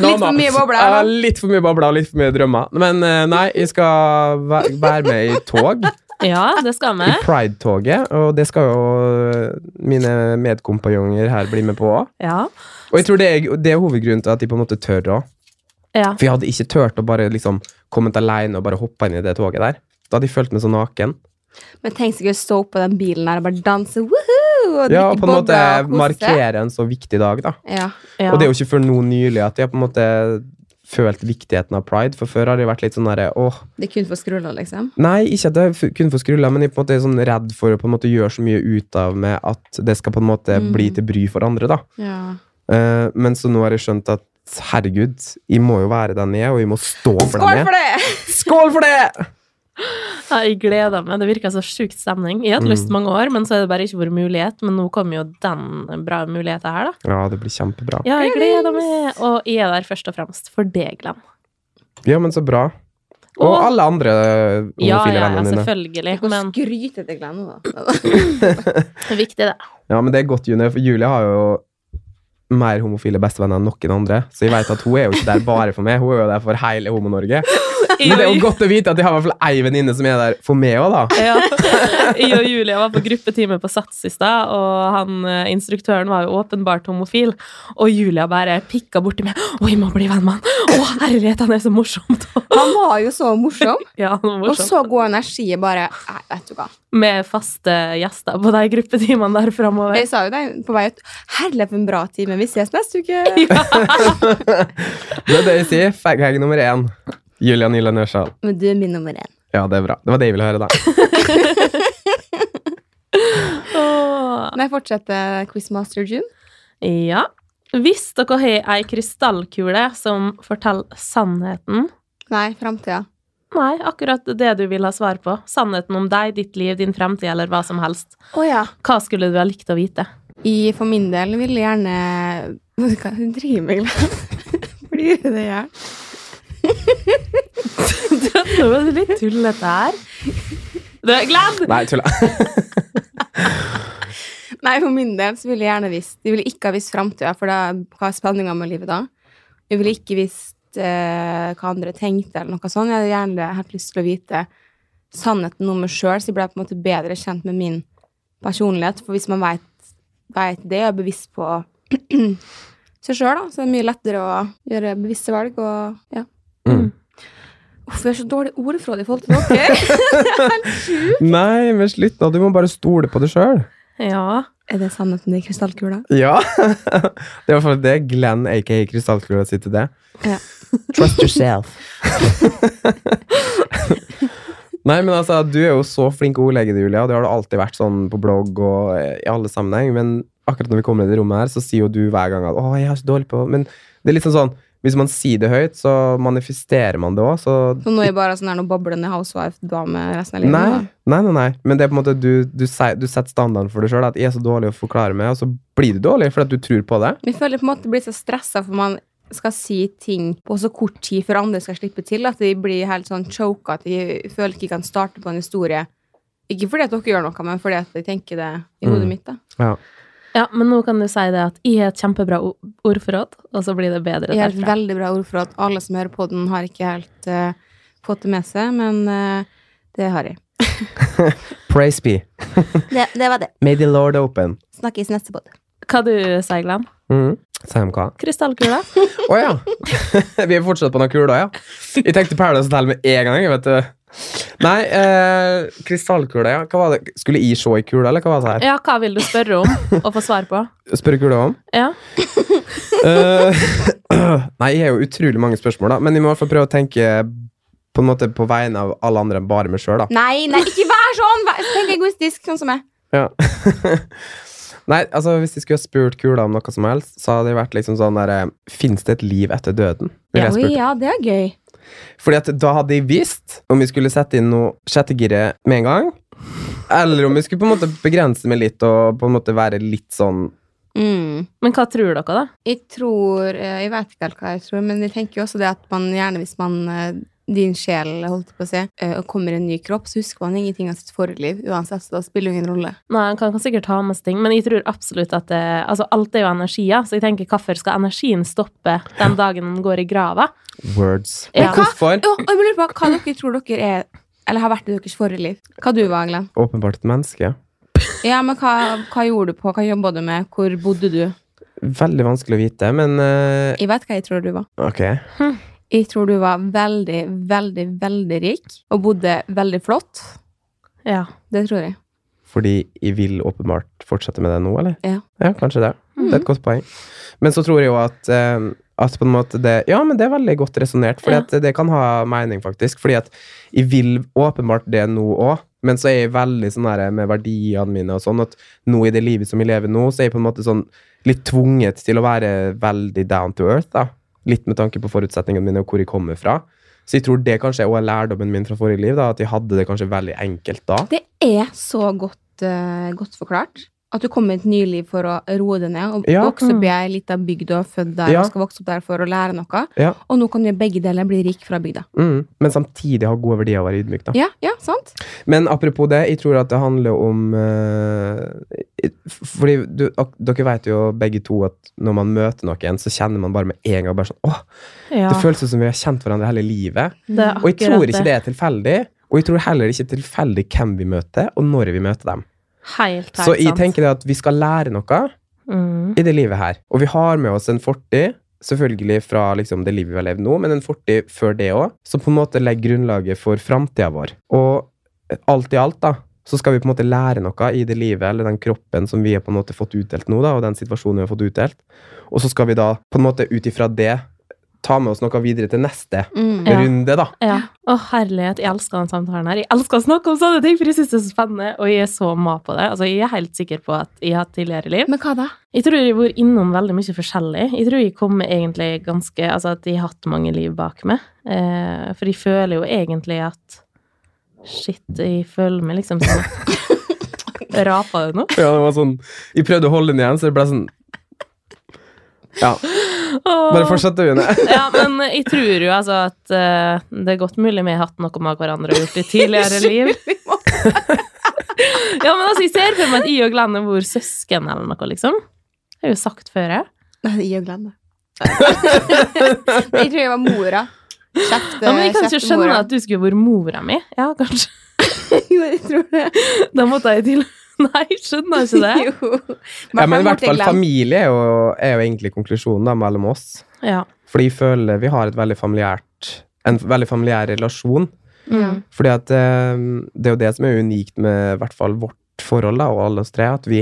S2: Litt for mye bobler,
S1: Ja,
S2: da.
S1: litt for mye bobler og litt for mye drømmer. Men eh, nei, jeg skal væ- være med i tog.
S3: Ja, det skal vi.
S1: I Pride-toget. Og det skal jo eh, mine medkompanjonger her bli med på òg.
S3: Ja.
S1: Og jeg tror det er, det er hovedgrunnen til at de på en måte tør òg.
S3: ja.
S1: For jeg hadde ikke turt å bare liksom kommet alene og bare hoppa inn i det toget der. Da hadde jeg følt meg så naken.
S2: Men tenk så gøy å stå oppå den bilen her og bare danse woohoo, og
S1: Ja, og
S2: drikke
S1: på en måte
S2: bobler og kose seg.
S1: markere en så viktig dag, da.
S2: Ja.
S3: ja.
S1: Og det er jo ikke før nå nylig at jeg har på en måte følt viktigheten av pride, for før har det vært litt sånn derre åh,
S2: Det er kun for skruller, liksom.
S1: Nei, ikke at jeg f- kun får skrulla, men jeg på en måte er sånn redd for å på en måte gjøre så mye ut av med at det skal på en måte
S2: Mm.
S1: bli til bry for andre, da.
S2: Ja.
S1: Eh, men så nå har jeg skjønt at herregud, jeg må jo være den jeg er, og jeg må stå for
S2: Skål
S1: den jeg er.
S2: for det!
S1: Skål for det!
S3: Ja, jeg gleder meg. Det virka så sjukt stemning. Jeg hadde
S1: Mm.
S3: lyst mange år, men så er det bare ikke vært mulighet. Men nå kom jo den bra muligheten her, da.
S1: Ja, det blir kjempebra.
S3: Ja, jeg gleder meg. Og jeg er der først og fremst for deg, Glenn.
S1: Ja, men så bra. Og,
S3: Og-
S1: alle andre homofile
S3: Ja, ja, ja,
S1: vennene dine.
S3: selvfølgelig.
S2: Gå
S3: Men
S2: og skryte til Glenn nå, da.
S3: det er viktig, det.
S1: Ja, men det er godt, June, for Julie har jo mer homofile bestevenner enn noen andre, så jeg vet at hun er jo ikke der bare for meg, hun er jo der for hele Homo-Norge. Men det er jo godt å vite at jeg har i hvert fall ei venninne som er der for meg òg, da.
S3: Ja. Jeg og Julie var på gruppetime på Sats i stad, og han, eh, instruktøren var jo åpenbart homofil. Og Julia bare pikka borti meg. 'Å, jeg må bli venn med han!' 'Å, herlighet, han er så morsomt!'
S2: Han var jo så morsom,
S3: Ja, han var
S2: og
S3: morsom.
S2: så god energi. Bare Nei, vet du hva.
S3: Med faste gjester på de gruppetimene der framover.
S2: Jeg sa jo det på vei ut. Herlig, for en bra time. Vi ses neste uke.
S1: Det er det jeg sier. Faghag nummer én. Julian Ylan Ørsal.
S2: Men du er min nummer én.
S1: Ja, det er bra. Det var det jeg ville høre, da.
S3: Åh.
S2: Nei, fortsette Quizmaster June.
S3: Ja. Hvis dere har ei krystallkule som forteller sannheten
S2: Nei, framtida.
S3: Nei, akkurat det du vil ha svar på. Sannheten om deg, ditt liv, din fremtid eller hva som helst.
S2: Å ja.
S3: Hva skulle du ha likt å vite?
S2: I, for min del ville jeg gjerne Hva Hun driver med Glenn? Blir det det jeg er?
S3: Nå er det litt tullete her. Du, Glenn!
S1: Nei, tulla.
S2: Nei, for min del så ville jeg gjerne visst Jeg ville ikke ha visst framtida, for da, hva er spenninga med livet da? Jeg ville ikke visst eh, hva andre tenkte, eller noe sånt. Jeg hadde gjerne hatt lyst til å vite sannheten om meg sjøl, så jeg ble på en måte bedre kjent med min personlighet. For hvis man veit vet det, og er bevisst på seg sjøl, da, så er det mye lettere å gjøre bevisste valg. og ja.
S1: Mm.
S2: Uff, jeg har så dårlig ordforråd i forhold til dere.
S1: Nei, men slutt, da. Du må bare stole på det sjøl.
S3: Ja.
S2: er det sannheten i krystallkula?
S1: Ja. Det er i hvert fall det Glenn aka Krystallkula sier til det.
S5: Trust yourself.
S1: Nei, men altså, du er jo så flink ordlegger, Julia, og det har du alltid vært sånn på blogg og eh, i alle sammenheng, men akkurat når vi kommer i det rommet her, så sier jo du hver gang at 'Å, jeg er så dårlig på Men det er liksom sånn hvis man sier det høyt, så manifesterer man det òg, så
S2: Så nå er jeg bare sånn her noe boblende housewife-dame resten av livet.
S1: Nei, nei, nei, nei. Men det er på en måte du, du, sier- du setter standarden for deg sjøl. At jeg er så dårlig å forklare meg, og så blir du dårlig fordi at du tror på det.
S2: Vi føler på en måte blir så stressa for man skal si ting på så kort tid før andre skal slippe til, at de blir helt sånn choka, at de føler ikke de kan starte på en historie. Ikke fordi at dere gjør noe, men fordi at jeg tenker det i hodet
S1: Mm.
S2: mitt. da.
S3: ja, men nå kan du si det at jeg har et kjempebra o- ordforråd, og så blir det bedre
S2: Jeg har et
S3: derfra.
S2: veldig bra ord for at alle som hører på den, har ikke helt eh, fått det med seg, men eh, det har jeg.
S1: Praise be.
S2: Det, var det.
S1: May the Lord open.
S2: Snakkes neste pod.
S3: Hva du sier Glenn?
S1: Mm. CMK.
S3: Krystallkula?
S1: Å ja! Vi er fortsatt på den kula, ja. Jeg tenkte Paradise Hotel med en gang. jeg vet du. Nei, eh, krystallkula, ja. Hva var det? Skulle jeg se i kula, eller hva var det her?
S3: Ja, hva vil du spørre om og få svar på?
S1: Spørre kula om?
S3: Ja.
S1: Eh, Nei, jeg har jo utrolig mange spørsmål, da. Men jeg må i hvert fall prøve å tenke på en måte på vegne av alle andre enn bare meg sjøl, da.
S2: Nei, nei, ikke vær sånn! Vær, tenk egoistisk, sånn som jeg.
S1: Ja. Nei, altså Hvis de skulle ha spurt kula om noe som helst, så hadde det vært liksom sånn der Fins det et liv etter døden? Ville jeg
S2: Oi,
S1: spurt.
S2: ja, det er gøy.
S1: Fordi at da hadde jeg visst om vi skulle sette inn noe sjettegiret med en gang, eller om vi skulle på en måte begrense meg litt og på en måte være litt sånn
S2: Mm.
S3: Men hva tror dere, da?
S2: Jeg tror eh, Jeg vet ikke helt hva jeg tror, men jeg tenker jo også det at man gjerne, hvis man eh, din sjel holdt jeg på å si, eh, og kommer i en ny kropp, så husker man ingenting av sitt forrige liv uansett, så da spiller det ingen rolle.
S3: Nei, han kan sikkert ha masse ting, men jeg tror absolutt at det, altså alt er jo energi, ja. så jeg tenker hvorfor skal energien stoppe den dagen den går i grava?
S1: Words.
S3: Ja.
S1: Men hvorfor?
S2: Ja, og jeg lurer på hva dere tror dere er eller har vært i deres forrige liv. Hva du var, Glenn?
S1: Åpenbart et menneske.
S2: Ja, men hva, hva gjorde du på? Hva jobba du med? Hvor bodde du?
S1: Veldig vanskelig å vite, men eh,
S2: Jeg vet hva jeg tror du var.
S1: ok.
S2: Jeg tror du var veldig, veldig, veldig rik og bodde veldig flott.
S3: Ja.
S2: Det tror jeg.
S1: Fordi jeg vil åpenbart fortsette med det nå, eller?
S2: Ja.
S1: kanskje det. Det er et godt poeng. Men så tror jeg jo at, eh, at på en måte det Ja, men det er veldig godt resonnert, for
S3: Ja.
S1: det kan ha mening, faktisk. Fordi at jeg vil åpenbart det nå òg, men så er jeg veldig sånn her med verdiene mine og sånn, at nå i det livet som jeg lever nå, så er jeg på en måte sånn litt tvunget til å være veldig down to earth, da. Litt med tanke på forutsetningene mine og hvor jeg kommer fra. Så jeg tror det kanskje også er lærdommen min fra forrige liv, da, at jeg hadde det kanskje veldig enkelt da.
S2: Det er så godt, eh, godt forklart. At du kommer i et nyliv for å roe deg ned. Og
S1: Ja. Mm.
S2: vokse opp i ei lita bygd og er født der
S1: Ja.
S2: og skal vokse opp der for å lære noe.
S1: Ja.
S2: Og nå kan du gjøre begge deler, bli rik fra bygda.
S1: Mm. Men samtidig ha gode verdier og være ydmyk, da.
S2: Ja, ja, sant?
S1: Men apropos det, jeg tror at det handler om eh, f- Fordi du, ak- dere vet jo begge to at når man møter noen, så kjenner man bare med en gang bare sånn Åh,
S3: ja.
S1: det føles som vi har kjent hverandre hele livet.
S3: Det er
S1: Og jeg
S3: akkurat
S1: tror ikke det er tilfeldig. Og jeg tror heller ikke tilfeldig hvem vi møter, og når vi møter dem.
S3: Helt, helt
S1: Så jeg
S3: sant.
S1: tenker det at vi skal lære noe
S3: Mm.
S1: i det livet her. Og vi har med oss en fortid, selvfølgelig fra liksom det livet vi har levd nå, men en fortid før det òg, som på en måte legger grunnlaget for framtida vår. Og eh, alt i alt, da, så skal vi på en måte lære noe i det livet, eller den kroppen som vi har på en måte fått utdelt nå, da, og den situasjonen vi har fått utdelt. Og så skal vi da på en måte ut ifra det ta med oss noe videre til neste
S2: Mm.
S3: Ja.
S1: runde, da.
S3: Ja. Å, herlighet. Jeg elsker den samtalen her. Jeg elsker å snakke om sånne ting, for jeg syns det er så spennende, og jeg er så mat på det. Altså, jeg er helt sikker på at jeg har hatt tidligere liv.
S2: Men hva da?
S3: Jeg tror jeg har vært innom veldig mye forskjellig. Jeg tror jeg kommer egentlig ganske Altså at jeg har hatt mange liv bak meg. Eh, for jeg føler jo egentlig at Shit, jeg føler meg liksom som Rapa det nå?
S1: Ja, det var sånn Jeg prøvde å holde den igjen, så det ble sånn Ja. Bare fortsett, du, Une.
S3: Ja, men jeg tror jo altså at eh, det er godt mulig vi har hatt noe med hverandre og gjort i tidligere liv. Ja, men altså, jeg ser for meg at jeg og Glenn er vår søsken eller noe, liksom. Det har jeg jo sagt før, jeg.
S2: Nei, jeg og Glenn, da. jeg tror jeg var mora. Kjeft,
S3: Ja, men jeg kan ikke
S2: kjeft
S3: skjønne
S2: mora.
S3: at du skulle vært mora mi. Ja, kanskje.
S2: Jo, jeg tror det.
S3: Da måtte jeg til Nei, skjønner jeg ikke det.
S2: Jo.
S1: Ja, men i hvert fall
S2: Glenn.
S1: familie er jo, er jo egentlig konklusjonen da, mellom oss.
S3: Ja.
S1: Fordi jeg føler vi har et veldig familiært, en veldig familiær relasjon.
S3: Mm.
S1: Fordi at eh, det er jo det som er unikt med i hvert fall vårt forhold da, og alle oss tre, at vi,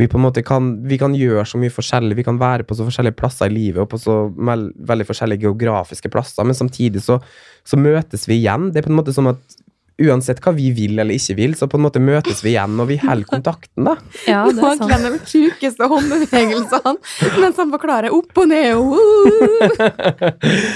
S1: vi på en måte kan, vi kan gjøre så mye forskjellig, vi kan være på så forskjellige plasser i livet, og på så mel- veldig forskjellige geografiske plasser, men samtidig så, så møtes vi igjen. Det er på en måte som at uansett hva vi vil eller ikke vil, så på en måte møtes vi igjen, og vi holder kontakten da.
S3: ja,
S2: Nå
S3: det er
S2: har
S3: sant.
S2: Glenn de sjukeste håndbevegelsene mens han forklarer opp og ned og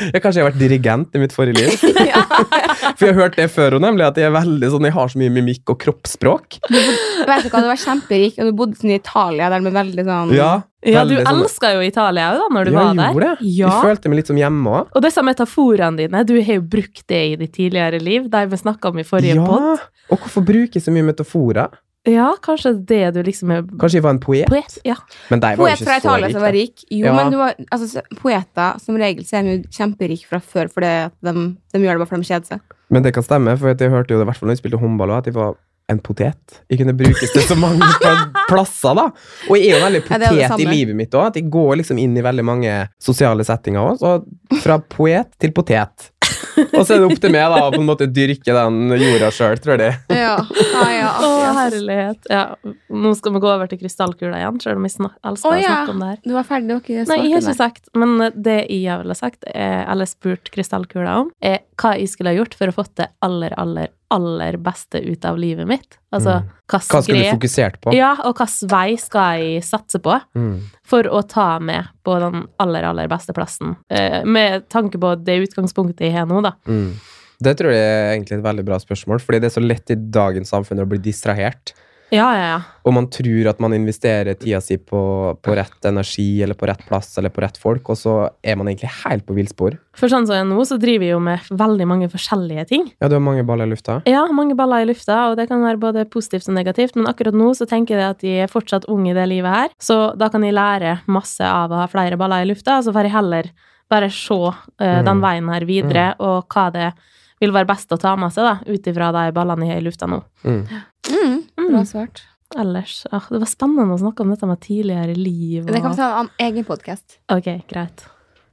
S1: Jeg kanskje jeg har vært dirigent i mitt forrige liv.
S2: ja.
S1: For jeg har hørt det før, og nemlig at jeg er veldig sånn, jeg har så mye mimikk og kroppsspråk.
S2: Mm. Vet du hva, du var kjemperik, og du bodde sånn i Italia, der med veldig sånn
S1: Ja,
S3: Ja, du
S1: veldig sånn-
S3: elska jo Italia òg, da, når du
S1: ja,
S3: var
S1: jeg
S3: der.
S1: gjorde det.
S3: Ja.
S1: Jeg følte meg litt som hjemme òg.
S3: Og disse metaforene dine, du har jo brukt det i ditt tidligere liv, de vi snakka om i forrige
S1: Ja.
S3: podd.
S1: Og hvorfor bruker jeg så mye metaforer?
S3: Ja, kanskje det du liksom er
S1: Kanskje jeg var en poet?
S3: Poet. Ja.
S1: Men de var jo
S2: Poet fra
S1: ikke så
S2: Italia
S1: rik.
S2: som var
S1: da.
S2: rik. Jo,
S1: Ja.
S2: men du var, altså, s- poeter som regel så er de jo kjemperike fra før, for de, de gjør det bare fordi de kjeder seg.
S1: Men det kan stemme, for at jeg hørte jo det i hvert fall når jeg spilte håndball, også, at jeg var en potet. Jeg kunne brukes til så mange pla- plasser, da. Og jeg er jo veldig
S2: Ja, det er
S1: potet
S2: det
S1: i
S2: samme.
S1: livet mitt òg. At jeg går liksom inn i veldig mange sosiale settinger òg. Så fra poet til potet. Og så er det opp til meg da, å på en måte dyrke den jorda sjøl, tror jeg.
S2: Ja, ja, ja.
S3: Å, herlighet. Ja. Nå skal vi gå over til krystallkula igjen, selv om jeg snak elsker
S2: Å,
S3: å
S2: ja.
S3: snakke om det her.
S2: Du var ferdig, du var ikke
S3: Nei, jeg har
S2: svart
S3: ikke sagt, men det jeg ville sagt, eh, eller spurt krystallkula om, er hva jeg skulle ha gjort for å fått det aller, aller, aller beste ut av livet mitt. Altså,
S1: Mm. Hva
S3: hva
S1: skulle du
S3: grep
S1: fokusert på?
S3: Ja, og hvilken vei skal jeg satse på
S1: Mm.
S3: for å ta med på den aller, aller beste plassen? Eh, med tanke på det utgangspunktet jeg har nå, da.
S1: Mm. Det tror jeg er egentlig et veldig bra spørsmål, fordi det er så lett i dagens samfunn å bli distrahert.
S3: Ja, ja, ja.
S1: og man tror at man investerer tida si på, på rett energi eller på rett plass eller på rett folk, og så er man egentlig helt på villspor.
S3: For sånn som jeg er nå, så driver jeg jo med veldig mange forskjellige ting.
S1: Ja, du har mange baller i lufta.
S3: Ja, mange baller i lufta, og det kan være både positivt og negativt, men akkurat nå så tenker jeg at jeg er fortsatt ung i det livet her, så da kan jeg lære masse av å ha flere baller i lufta, så får jeg heller bare se eh, den
S1: Mm.
S3: veien her videre, og hva det vil være best å ta med seg, da, ut ifra de ballene jeg har i lufta nå.
S1: Mm.
S2: Mm, bra svart.
S3: Ellers ah, Det var spennende å snakke om dette med tidligere liv og
S2: Det kan vi ta en egen podkast.
S3: Ok, greit.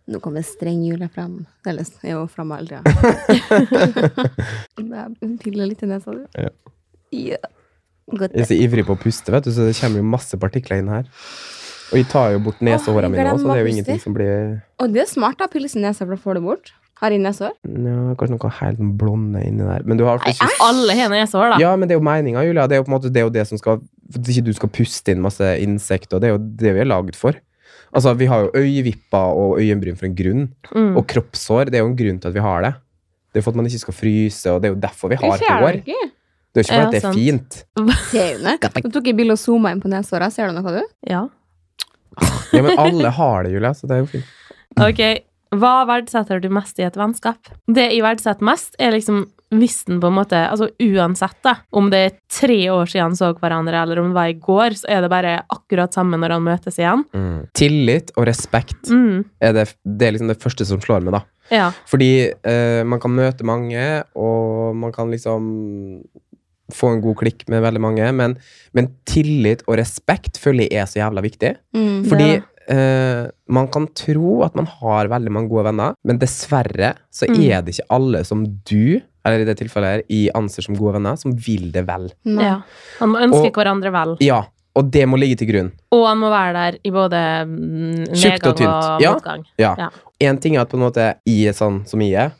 S2: Nå kommer streng jule fram. Eller er jo fram aldri. Hun piller litt i nesa, du.
S1: Ja.
S2: Ja. Godt.
S1: Jeg er så ivrig på å puste, vet du, så det kommer jo masse partikler inn her. Og jeg tar jo bort nesehåra
S2: Åh,
S1: mine òg, så det er jo
S2: glemmer å puste.
S1: ingenting som blir
S2: Og det er smart, da. Pille i nesa, for da får du bort. Har i nesehår.
S1: ja, Kanskje noe helt blonde inni der. Men du har ikke
S3: Alle har nesehår, da.
S1: Ja, men det er jo meninga, Julia. Det er jo på en måte det, er jo det som skal For at ikke du skal puste inn masse insekter, og det er jo det vi er lagd for. Altså, vi har jo øyevipper og øyenbryn for en grunn.
S3: Mm.
S1: Og kroppshår, det er jo en grunn til at vi har det. Det er for at man ikke skal fryse, og det er jo derfor vi
S2: Du
S1: har
S2: ser
S1: hår.
S2: det ikke.
S1: Det er jo ikke fordi
S3: Ja,
S1: at det er
S3: sant.
S1: fint.
S2: Ser du det? Du tok et bilde og zooma inn på nesehåra. Ser du noe, du?
S3: Ja.
S1: Ja, men alle har det, Julia, så det er jo fint.
S3: Ok, hva verdsetter du mest i et vennskap? Det jeg verdsetter mest er liksom hvis den på en måte, altså uansett da, om det er tre år siden han så hverandre, eller om det var i går, så er det bare akkurat samme når han møtes igjen.
S1: Tillit og respekt
S3: Mm,
S1: er det, det er liksom det første som slår meg, da.
S3: ja,
S1: Fordi eh, man kan møte mange, og man kan liksom få en god klikk med veldig mange, men, men tillit og respekt føler jeg er så jævla viktig.
S2: Mm.
S1: Fordi
S3: er
S1: eh, man kan tro at man har veldig mange gode venner, men dessverre så
S3: Mm.
S1: er det ikke alle som du, eller i det tilfellet her, jeg anser som gode venner, som vil det vel.
S2: Nei.
S3: ja. Han må ønske
S1: Og-
S3: hverandre vel,
S1: Ja, og det må ligge til grunn.
S3: og han må være der i både mm,
S1: Tjukt
S3: nedgang
S1: og
S3: og,
S1: tynt. Ja.
S3: motgang. Ja.
S1: Ja. Én ting er at på en måte jeg er sånn som jeg er,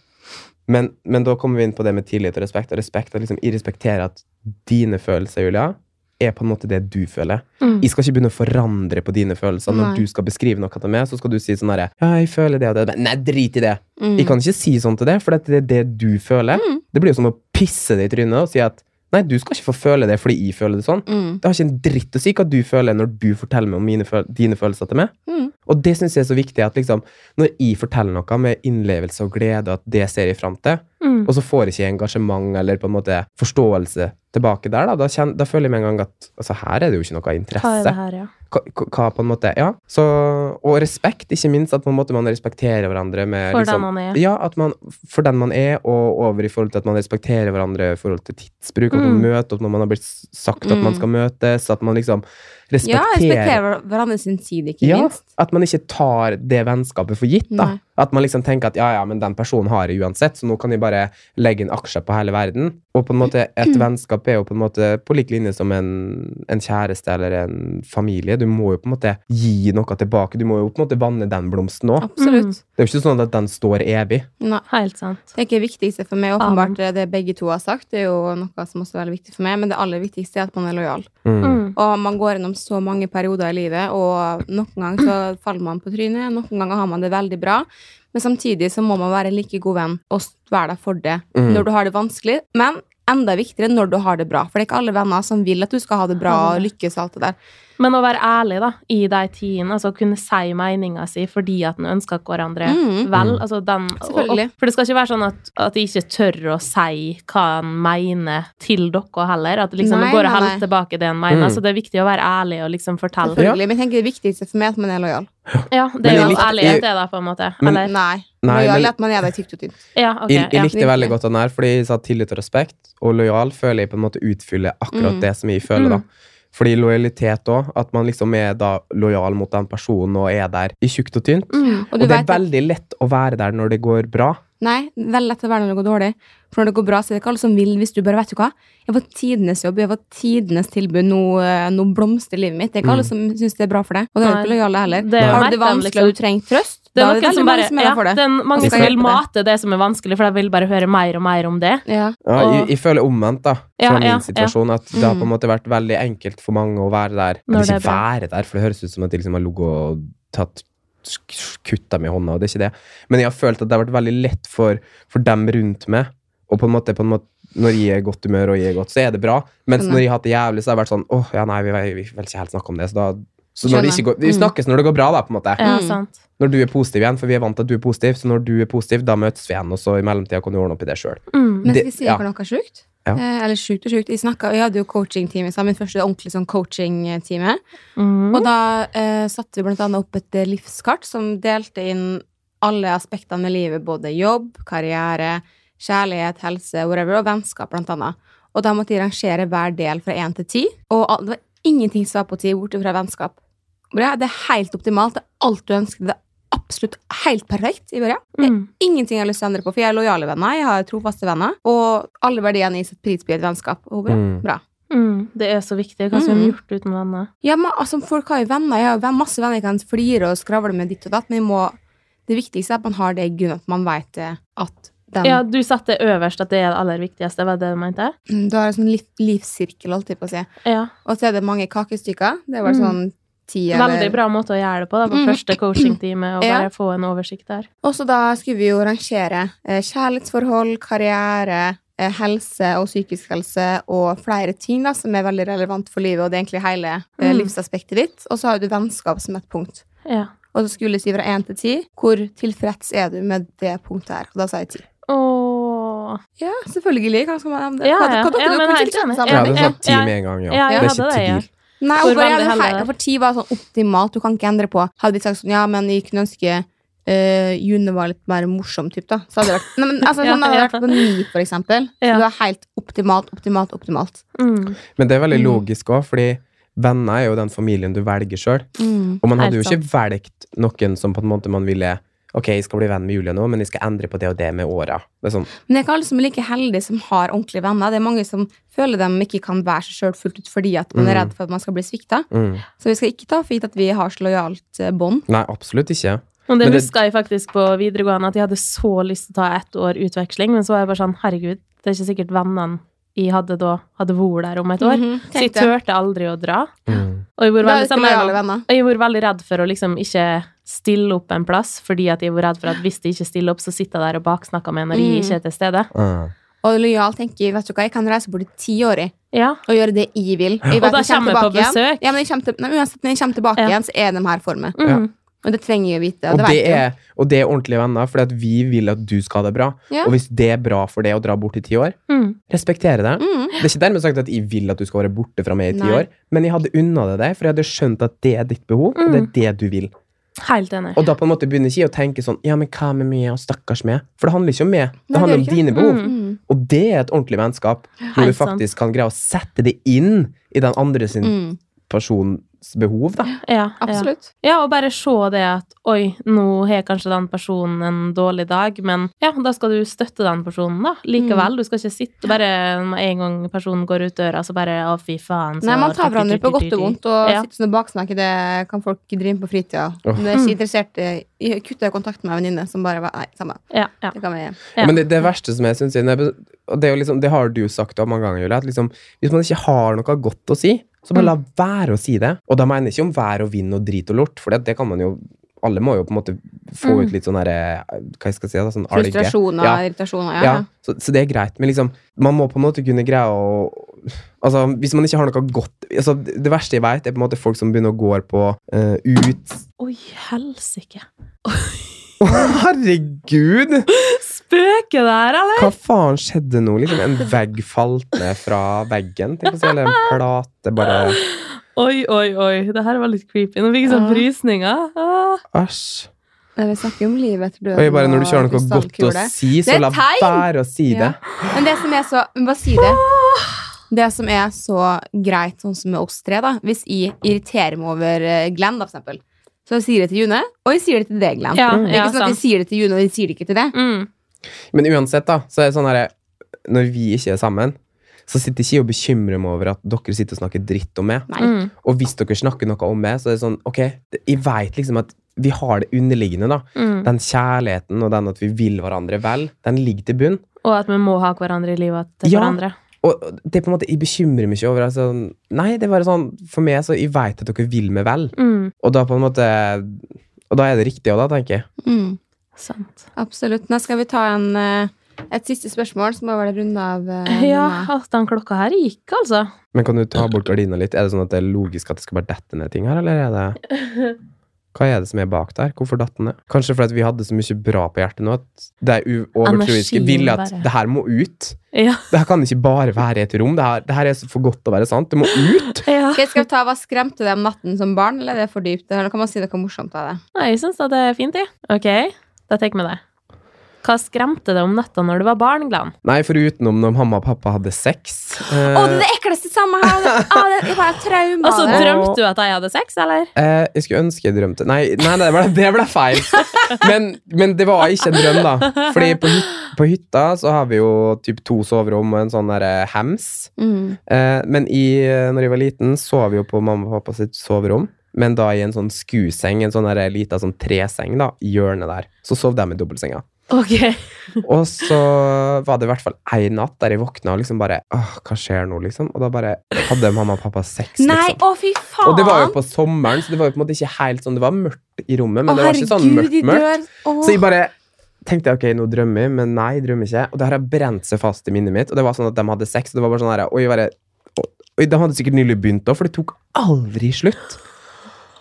S1: men, men da kommer vi inn på det med tillit og respekt. Og respekt er liksom, Jeg respekterer at dine følelser, Julia, er på en måte det du føler.
S3: Mm.
S1: Jeg skal ikke begynne å forandre på dine følelser. Når
S2: Nei.
S1: du skal beskrive noe til meg, så skal du si sånn herre Ja, jeg føler det og det. Men Nei, drit i det.
S2: Mm.
S1: Jeg kan ikke si sånn til det, for det er det du føler.
S2: Mm.
S1: Det blir jo som å pisse deg i trynet og si at Nei, du skal ikke få føle det fordi jeg føler det sånn.
S2: Mm.
S1: Det har ikke en dritt å si hva du føler når du forteller meg om mine føl dine følelser til meg.
S2: Mm.
S1: Og det syns jeg er så viktig, at liksom, når jeg forteller noe med innlevelse og glede, at det ser jeg fram til,
S3: Mm.
S1: og så får jeg ikke engasjement eller på en måte forståelse tilbake der, da, da, kjen- da føler jeg med en gang at altså, her er det jo ikke noe
S3: Hva er
S1: interesse.
S3: det her, ja?
S1: Hva, hva- hva på en måte, ja. Så, og respekt, ikke minst, at på en måte man respekterer hverandre med
S3: For
S1: liksom,
S3: den han er.
S1: ja, at man, for den man er, og over i forhold til at man respekterer hverandre i forhold til tidsbruk, at
S3: Mm.
S1: man møter opp når man har blitt s- sagt at man
S2: Mm.
S1: skal møtes, at man liksom
S2: Ja,
S1: respekterer
S2: respekterer hverandre sin side, ikke
S1: Ja.
S2: minst.
S1: At man ikke tar det vennskapet for gitt, da.
S2: Nei.
S1: At man liksom tenker at ja, ja, men den personen har jeg uansett, så nå kan jeg bare legge inn aksjer på hele verden. Og på en måte, et vennskap er jo på en måte på lik linje som en, en kjæreste eller en familie. Du må jo på en måte gi noe tilbake. Du må jo på en måte vanne den blomsten òg.
S2: Absolutt.
S1: Det er jo ikke sånn at den står evig.
S2: Nei.
S3: Helt sant.
S2: Det er ikke det viktigste for meg,
S3: Amen.
S2: åpenbart det det begge to har sagt. Det er jo noe som også er veldig viktig for meg, men det aller viktigste er at man er lojal.
S3: Mm.
S2: Og man går gjennom så mange perioder i livet, og noen ganger så faller man på trynet, noen ganger har man det veldig bra. Men samtidig så må man være en like god venn og være der for det
S1: Mm.
S2: når du har det vanskelig. Men enda viktigere når du har det bra, for det er ikke alle venner som vil at du skal ha det bra og lykkes og alt det der.
S3: Men å være ærlig da, i de tidene, altså kunne si meningen sin fordi at en ønsker hverandre
S2: Mm.
S3: vel.
S1: Mm.
S3: Altså den, og-
S2: Selvfølgelig.
S3: Og, for det skal ikke være sånn at, at de ikke tør å si hva en mener til dere heller. At liksom,
S2: Nei,
S3: det går
S2: nei,
S3: helt
S2: nei.
S3: tilbake det en mener.
S1: Mm.
S3: Så det er viktig å være ærlig og liksom fortelle.
S2: Selvfølgelig, men jeg tenker det viktigste for meg er at man er lojal.
S3: Ja, det
S1: Men
S3: er
S2: jeg
S3: jo altså
S2: likte-
S3: ærlighet, det da, på en måte.
S1: Men-
S3: Eller?
S2: Nei.
S1: Nei,
S2: lojal
S1: men-
S2: er at man er der tykt og tynt.
S3: Ja, ok.
S1: jeg, jeg
S3: ja.
S1: likte veldig godt den her, fordi jeg sa tillit og respekt, og lojal føler jeg på en måte utfyller akkurat
S2: Mm.
S1: det som jeg føler, da. Fordi lojalitet òg, at man liksom er da lojal mot den personen og er der i tjukt og tynt.
S3: Mm.
S1: Og det er
S2: vet at-
S1: veldig lett å være der når det går bra.
S2: Nei, veldig lett å være når det går dårlig. For når det går bra, så er det ikke alle som vil hvis du bare vet du hva. Jeg var tidenes jobb, jeg var tidenes tilbud, nå, eh, nå blomstrer livet mitt. Det er
S1: Mm.
S2: ikke alle som syns det er bra for deg. Og det er
S3: Nei.
S2: ikke lojale heller.
S3: Det er jo
S2: Har du det
S3: merkelig,
S2: vanskelig
S3: liksom.
S2: og du trenger trøst,
S3: Det
S2: da
S3: er
S2: er det
S3: noen
S2: veldig
S3: som bare
S2: mange som er
S3: ja,
S2: der for
S3: det
S2: det.
S3: er mange
S2: skal
S3: som vil
S2: hjelpe
S3: mate det som er vanskelig, for de vil bare høre mer og mer om det.
S2: Ja.
S1: Ja,
S3: Og-
S1: jeg, jeg føler omvendt, da, fra
S3: Ja,
S1: min
S3: ja, Mm.
S1: situasjon, at det har på en måte vært veldig enkelt for mange å være der.
S3: Når
S1: Eller
S3: det er
S1: ikke
S3: bra.
S1: være der, for det høres ut som at de liksom har ligget og tatt sk- kutta med hånda, og det er ikke det. Men jeg har følt at det har vært veldig lett for, for dem rundt meg å på en måte, på en måte når jeg er i godt humør og jeg er godt, så er det bra. Mens
S2: Skjønner.
S1: når jeg har hatt det jævlig, så har jeg vært sånn åh, ja, nei, vi, vi vil ikke helt snakke om det. Så da så når det
S2: Skjønner.
S1: ikke går, vi
S2: Mm.
S1: snakkes når det går bra, da, på en måte.
S3: Ja,
S2: Mm.
S3: sant.
S1: Når du er positiv igjen, for vi er vant til at du er positiv. Så når du er positiv, da møtes vi igjen, og så i mellomtida kan du ordne opp i det sjøl.
S3: Mm.
S2: Men skal
S1: Det-
S2: jeg si
S1: ja.
S2: dere noe sjukt?
S1: Ja.
S2: Eh, eller sjukt og sjukt. Jeg, snakket, jeg hadde jo coachingtime sammen, min første ordentlig sånn coachingtime.
S3: Mm.
S2: Og da eh, satte vi blant annet opp et eh, livskart som delte inn alle aspektene med livet, både jobb, karriere, kjærlighet, helse, whatever, og vennskap, blant annet. Og da måtte jeg rangere hver del fra 1 til 10, og al- det var ingenting som var på 10, borte fra vennskap. Og Det er- det er helt optimalt, det er alt du ønsker, det er absolutt helt perfekt i bare. Det er
S3: Mm.
S2: ingenting jeg har lyst til å endre på, for jeg er lojale venner, jeg har trofaste venner, og alle verdiene jeg setter pris på i et vennskap. Og bra.
S1: Mm.
S2: bra.
S3: Mm. Det er så viktig. Hva skulle vi
S2: Mm.
S3: gjort uten venner?
S2: Ja, men altså, folk har jo venner, jeg har jo ven- masse venner jeg kan flire og skravle med ditt og datt, men jeg må, det viktigste er at man har det i grunnen, at man vet eh, at den,
S3: Ja, du satte det øverst at det er det aller viktigste. Var det du mente?
S2: Mm, du har en sånn liv, livssirkel, holdt jeg på å si.
S3: Ja.
S2: Og så er det mange kakestykker, det var
S3: Mm.
S2: sånn ti
S3: Veldig
S2: eller...
S3: bra måte å gjøre det på, da, på
S2: Mm.
S3: første coachingtime, og
S2: Ja.
S3: bare få en oversikt der.
S2: Og så da skulle vi jo rangere eh, kjærlighetsforhold, karriere, eh, helse og psykisk helse, og flere ting da, som er veldig relevant for livet, og det er egentlig hele eh,
S3: Mm.
S2: livsaspektet ditt. Og så har du vennskap som et punkt.
S3: Ja.
S2: Og så skulle jeg si fra 1 til 10, hvor tilfreds er du med det punktet her? Og da sa jeg 10.
S3: Åh.
S2: Ja, selvfølgelig. Hva skal man endre?
S3: Ja,
S2: hva,
S3: ja.
S2: hva dere
S3: Ja, men
S2: hvor
S3: helt
S2: tilfreds
S3: enig.
S2: er
S1: Ja, det er
S2: man?
S3: Ja, ja,
S1: sånn ti
S3: ja.
S1: med en gang, ja.
S3: Ja, jeg
S1: det er
S3: hadde det, ja.
S1: ikke tvil.
S2: Nei,
S3: Hvor
S2: og bare,
S3: var det
S2: ja, men
S3: heller?
S2: hei, for 10 var sånn optimalt, du kan ikke endre på. Hadde de sagt sånn, ja, men jeg kunne ønske eh, June var litt mer morsom, typ da. Så hadde det vært, nei, men altså,
S3: Ja,
S2: sånn hadde det
S3: ja.
S2: vært på 9, for eksempel. Så
S3: Ja.
S2: det var helt optimalt, optimalt, optimalt.
S3: Mm.
S1: Men det er veldig
S2: Mm.
S1: logisk òg, fordi venner er jo den familien du velger sjøl. Og man hadde jo
S3: Helt
S1: ikke valgt noen som på en måte man ville Ok, jeg skal bli venn med Julie nå, men jeg skal endre på det og det med åra. Det er sånn,
S2: Men det er ikke alle som er like heldige som har ordentlige venner. Det er mange som føler de ikke kan være seg selv fullt ut fordi at man er
S1: Mm.
S2: redd for at man skal bli sviktet.
S1: mm.
S2: Så vi skal ikke ta for gitt at vi har så lojalt eh, bånd.
S1: Nei, absolutt ikke.
S3: Og det
S1: Men det-
S3: huska jeg faktisk på videregående, at jeg hadde så lyst til å ta ett år utveksling, men så var jeg bare sånn, herregud, det er ikke sikkert vennene jeg hadde da, hadde vært der om et år.
S2: Mhm,
S3: Så jeg
S2: tenkte.
S3: turte aldri å dra.
S1: Mm.
S3: Og jeg var
S2: Da er
S3: veldig,
S2: det ikke
S3: sånn,
S2: lojale
S3: jeg,
S2: venner.
S3: jeg var veldig redd for å liksom ikke stille opp en plass, fordi at jeg var redd for at hvis jeg ikke stiller opp, så sitter jeg der og baksnakker med når jeg
S2: Mm.
S3: ikke er til stede.
S1: Ah.
S2: Og lojal tenker vet du hva, jeg kan reise bort i ti år i
S3: Ja,
S2: og gjøre det jeg vil. Jeg
S3: og
S2: vet
S3: da
S2: jeg
S3: kommer jeg på
S2: tilbake igjen.
S3: besøk.
S2: Ja, men jeg kommer til, nei, uansett når jeg kommer tilbake
S3: Ja.
S2: igjen, så er de her for meg.
S3: Mm.
S2: Og det trenger jeg å vite. Og
S1: Og,
S2: det
S1: det
S2: vet jeg.
S1: er, og det er ordentlige venner, fordi at vi vil at du skal ha det bra.
S2: Ja.
S1: Og hvis det er bra for deg å dra bort i ti år,
S3: Mm.
S1: respektere det.
S2: Mm.
S1: Det er ikke dermed sagt at jeg vil at du skal være borte fra meg i ti
S2: Nei.
S1: år, men jeg hadde unna det deg, for jeg hadde skjønt at det er ditt behov, og det er det du vil.
S3: Helt enig.
S1: Og da på en måte begynner ikke jeg å tenke sånn Ja, men hva med meg og stakkars meg? For det handler ikke om meg. Det
S2: Nei, det
S1: handler om
S2: gjør ikke
S1: dine behov.
S3: Mm.
S2: Mm.
S1: Og det er et ordentlig vennskap. Når du
S3: Helt sant.
S1: faktisk kan greie å sette det inn i den andre sin
S2: Mm.
S1: persons behov, da.
S3: Ja, ja.
S2: Absolutt.
S3: Ja, og bare se det at oi, nå har kanskje den personen en dårlig dag, men ja, da skal du støtte den personen, da.
S2: Mm.
S3: Likevel. Du skal ikke sitte bare med en gang personen går ut døra, så bare å, fy faen. Så
S2: Nei, man tar hverandre på godt og vondt, og
S3: Ja.
S2: sitter sånn og baksnakker, det kan folk drive med på fritida.
S1: Åh.
S2: Men jeg er
S3: Mm.
S2: ikke interessert eh, Jeg kutta kontakt med en venninne som bare var Nei, samme.
S3: Ja, ja.
S2: Det kan vi
S3: Ja.
S1: Men det, det verste som jeg syns er Og det, er jo liksom, det har du jo sagt også mange ganger, Julie, at liksom, hvis man ikke har noe godt å si, så
S2: Mm.
S1: bare la være å si det. Og da mener jeg ikke om vær og vind og drit og lort, for det, det kan man jo Alle må jo på en måte få
S2: Mm.
S1: ut litt sånn derre Hva jeg skal si, da? Sånn alge.
S2: Frustrasjoner,
S1: Ja.
S2: irritasjoner. Ja.
S1: Ja, så, så det er greit, men liksom man må på en måte kunne greie å Altså, hvis man ikke har noe godt altså, Det verste jeg vet, er på en måte folk som begynner å gå på eh, ut
S3: Oi, helsike.
S1: Å, herregud!
S3: Spøket der, eller?
S1: Hva faen skjedde nå? Liksom En vegg falt ned fra veggen, tenk å si, eller en plate bare
S3: Oi, oi, oi. Det her var litt creepy. Nå fikk jeg sånn
S2: Ja.
S3: frysninger. Ah.
S1: Æsj.
S2: Nei, Vi snakker om livet etter døden.
S1: Og jeg bare, når du ikke har
S2: og
S1: noe godt å
S2: krystallkule.
S1: si,
S2: Det
S1: så
S2: er
S1: la
S2: tegn!
S1: være å si det.
S2: Ja. Men det som er så men Bare si det.
S3: Ah.
S2: Det som er så greit, sånn som med oss tre, da hvis jeg irriterer meg over eh, Glenn, da, for eksempel, så sier jeg det til June, og jeg sier det til deg, Glenn.
S3: Ja,
S1: Mm.
S2: det er
S3: ja,
S2: ikke sånn at jeg
S3: sant.
S2: sier det til June, og jeg sier det ikke til deg.
S3: Mm.
S1: Men uansett, da, så er det sånn herre Når vi ikke er sammen, så sitter ikke jeg og bekymrer meg over at dere sitter og snakker dritt om meg.
S2: Nei.
S3: Mm.
S1: Og hvis dere snakker noe om meg, så er det sånn Ok, det- jeg veit liksom at vi har det underliggende, da.
S3: Mm.
S1: Den kjærligheten og den at vi vil hverandre vel, den ligger til bunn.
S3: Og at vi må ha hverandre i livet til
S1: Ja.
S3: hverandre.
S1: Og og det er på en måte, jeg bekymrer meg ikke over altså, Nei, det er bare sånn For meg, så jeg veit at dere vil meg vel.
S3: Mm.
S1: Og da på en måte Og da er det riktig òg, da, tenker jeg.
S2: Mm,
S3: Sant.
S2: absolutt. Nå skal vi ta en eh, Et siste spørsmål, så må vi vel runde av. eh,
S3: Ja,
S2: Nanna.
S3: altså, den klokka her gikk, altså.
S1: Men kan du ta bort gardina litt? Er det sånn at det er logisk at det skal bare dette ned ting her, eller er det Hva er det som er bak der? Hvorfor datt den ned? Kanskje fordi vi hadde så mye bra på hjertet nå at det er uovertroiske
S3: Energien
S1: vil at
S3: bare.
S1: det her må ut.
S3: Ja.
S1: Det her kan ikke bare være i et rom. Det her, det her er så for godt til å være sant. Det må ut!
S3: ja.
S2: Ok, skal vi ta hva skremte deg om natten som barn, eller er det for dypt? Eller kan man si noe morsomt av det?
S3: Nei, jeg syns det er fint, jeg. Ok, da tar jeg med det. Hva skremte deg om natta når du var barn, Glenn?
S1: Nei, for utenom når mamma og pappa hadde sex. eh,
S2: Å, det er det ekleste samme her! Det, å, det, det var traume
S3: Altså,
S2: av det.
S3: drømte du at jeg hadde sex, eller?
S1: Eh, jeg skulle ønske jeg drømte Nei, nei det, ble, det ble feil. Men, men det var ikke en drøm, da. Fordi på, hyt- på hytta så har vi jo typ to soverom og en sånn der eh, hems.
S2: Mm.
S1: Eh, men i, eh, når jeg var liten, sov jeg jo på mamma og pappa sitt soverom. Men da i en sånn skuseng, en sånn der lita sånn treseng da, i hjørnet der. Så sov de i dobbeltsenga.
S3: Ok.
S1: Og så var det i hvert fall ei natt der jeg våkna og liksom bare Åh, hva skjer nå, liksom? Og da bare hadde mamma og pappa sex,
S2: Nei,
S1: liksom.
S2: å fy faen!
S1: Og det var jo på sommeren, så det var jo på en måte ikke helt sånn Det var mørkt i rommet, men
S2: Å,
S1: det var ikke sånn
S2: herregud,
S1: mørkt,
S2: de
S1: mørkt.
S2: dør. Å.
S1: Så jeg bare tenkte ok, nå drømmer jeg, men nei, jeg drømmer ikke. Og det her har brent seg fast i minnet mitt. Og det var sånn at de hadde sex, og det var bare sånn her Oi, bare Oi, de hadde sikkert nylig begynt òg, for det tok aldri slutt.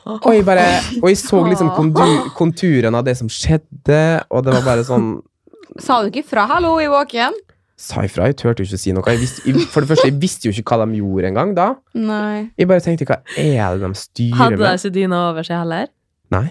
S1: Og jeg bare Og jeg så liksom kondu- konturene av det som skjedde, og det var bare sånn
S2: Sa du ikke fra 'hallo, i våken'?
S1: Sa ifra. Jeg turte jo ikke å si noe. Jeg visste, jeg, for det første, jeg visste jo ikke hva de gjorde engang da.
S2: Nei.
S1: Jeg bare tenkte hva er det de styrer
S3: Hadde jeg
S1: med?
S3: ikke dyna over seg heller?
S1: Nei.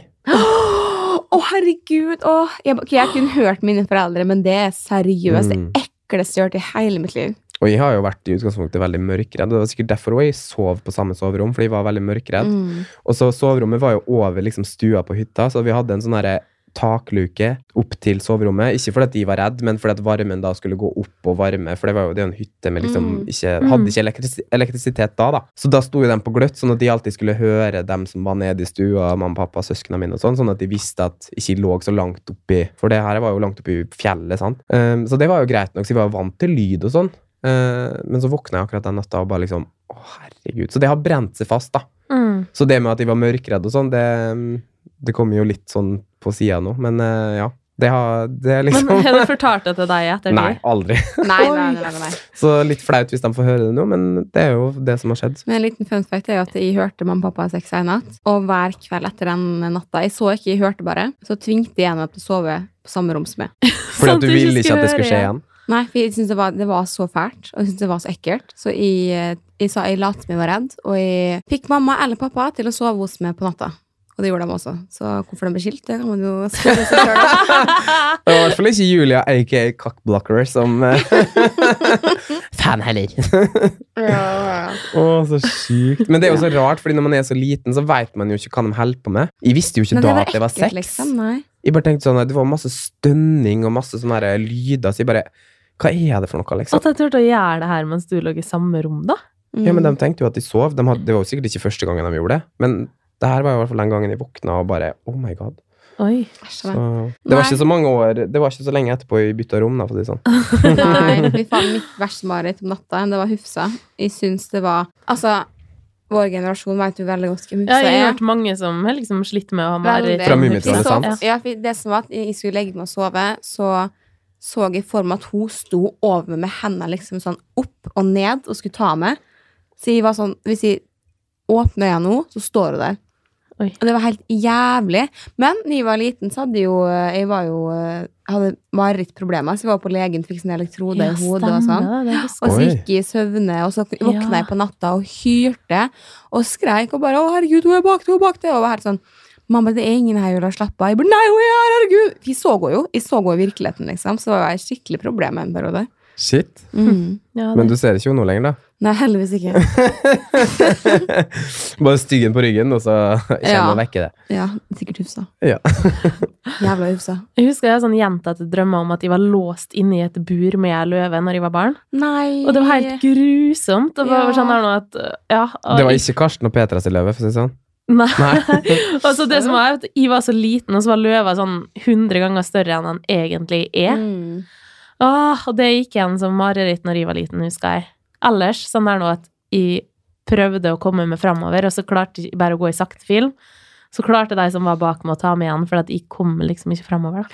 S2: Å, herregud! Å, jeg, ok, jeg kunne hørt mine foreldre, men det er seriøst det ekleste jeg har hørt i hele mitt liv.
S1: Og jeg har jo vært i utgangspunktet veldig mørkredd. og Det var sikkert derfor også jeg sov på samme soverom, fordi jeg var veldig mørkredd.
S2: Mm.
S1: Og så soverommet var jo over liksom, stua på hytta, så vi hadde en sånn herre takluke opp til soverommet. Ikke fordi at de var redd, men fordi at varmen da skulle gå opp og varme. For det var jo det er jo en hytte med liksom
S2: Mm.
S1: ikke,
S3: Mm.
S1: Hadde ikke elektris elektrisitet da, da. Så da sto jo de på gløtt, sånn at de alltid skulle høre dem som var nede i stua, mamma, pappa, søsknene mine og sånn, sånn at de visste at ikke lå så langt oppi For det her var jo langt oppi fjellet, sant. Ehm, så det var jo greit nok, så vi var jo vant til lyd og sånn. Ehm, men så våkna jeg akkurat den natta og bare liksom Å, herregud. Så det har brent seg fast, da.
S3: Mm.
S1: Så det med at de var mørkredde og sånn, det, det kommer jo litt sånn på sida nå. Men eh, ja, det, har, det er
S3: Men
S1: liksom
S3: har du fortalt det til deg etter
S1: Nei, aldri.
S2: Nei, nei, nei, nei, nei.
S1: Så litt flaut hvis de får høre det nå, men det er jo det som har skjedd.
S2: Men en liten fun fact er jo at jeg hørte mamma og pappa ha sex en natt, og hver kveld etter den natta Jeg så ikke, jeg hørte bare. Så tvingte jeg henne til å sove på samme rom som meg.
S1: Fordi
S3: Sånn
S1: at du
S3: du ikke
S1: ville ikke
S3: skulle
S1: at det skulle
S3: høre
S1: skje
S3: igjen.
S1: igjen.
S2: Nei, for jeg syntes det, var- det var så fælt, og jeg syntes det var så ekkelt. Så jeg, eh, jeg sa jeg lot som jeg var redd, og jeg fikk mamma eller pappa til å sove hos meg på natta. Og det gjorde de også. Så hvorfor de ble skilt, det kan man jo spørre seg selv om.
S1: Det var i hvert fall ikke Julia, aka Cockblocker, som eh,
S5: Faen heller.
S1: Å, så sjukt. Men det er jo så rart, fordi når man er så liten, så veit man jo ikke hva de holder på med. Jeg visste jo ikke
S2: Men
S1: da at det var sex.
S2: liksom. Nei.
S1: Jeg bare tenkte sånn at Det var masse stønning og masse sånne her lyder, så jeg bare Hva er det for noe, liksom?
S3: At jeg turte å gjøre det her mens du lå i samme rom, da?
S2: Mm.
S1: Ja, men de tenkte jo at de sov. De hadde, det var jo sikkert ikke første gangen de gjorde det, men det her var jo i hvert fall den gangen jeg våkna og bare Oh my god.
S3: Oi.
S2: Æsj,
S1: Så,
S2: nei. Ah.
S1: det var ikke så mange år Det var ikke så lenge etterpå jeg bytta rom, da, for å si det sånn.
S2: Nei, fy faen, mitt verste mareritt om natta, det var Hufsa. Jeg syns det var Altså, vår generasjon vet jo veldig godt hvem
S3: Ja,
S2: Hufsa
S3: jeg har
S2: er.
S3: hørt mange som har liksom slitt med å ha
S2: Veldig.
S3: mareritt.
S1: Fra
S3: om
S1: Mummitrollet,
S3: hufsa.
S1: sant?
S3: Ja.
S2: Ja, for det som var at jeg skulle legge meg og sove, så så jeg for meg at hun sto over meg med hendene liksom sånn opp og ned og skulle ta meg. Så jeg var sånn Hvis jeg åpner øynene nå, så står hun der.
S3: Oi.
S2: Og det var helt jævlig. Men da jeg var liten, så hadde jeg jo eh, Jeg var jo, hadde marerittproblemer, så jeg var på legen, fikk sånn elektrode i hodet og sånn.
S3: stemmer det, det
S2: Og
S3: husker
S2: så
S1: Oi.
S2: gikk jeg i søvne, og så våkna
S3: Ja.
S2: jeg på natta og hyrte og skreik og bare 'Å, herregud, hun er bak deg, hun er bak deg!' Og var helt sånn 'Mamma, det er ingen her, Julia, slapp av.' Jeg bare 'Nei, hun er her, herregud!' Vi så henne jo. Jeg så henne i virkeligheten, liksom. Så det var et skikkelig problem en periode.
S1: Shit.
S2: Mm.
S3: jeg. Ja,
S1: Men
S3: det.
S1: du ser ikke henne nå lenger, da.
S2: Nei, heldigvis ikke.
S1: Bare styggen på ryggen, og så kommer
S2: Ja.
S1: og vekker det.
S2: Ja, sikkert Hufsa.
S1: Ja.
S2: Jævla Hufsa.
S3: Jeg husker jeg har sånn gjentatte drømmer om at jeg var låst inne i et bur med løve når jeg var barn.
S2: Nei.
S3: Og det var helt grusomt. Og bare
S2: Ja.
S3: sånn her nå at, ja, og
S1: Det var ikke Karsten og Petra sin løve, for å si det sånn.
S3: Nei.
S1: Nei.
S3: Og så det som var, at jeg var så liten, og så var løva sånn 100 ganger større enn han egentlig er.
S2: Mm.
S3: Åh, Ah, og det gikk igjen som mareritt når jeg var liten, husker jeg. Ellers sånn der nå at jeg prøvde å komme meg framover, og så klarte jeg bare å gå i sakte film. Så klarte de som var bak meg å ta meg igjen, for at jeg kom liksom ikke framover.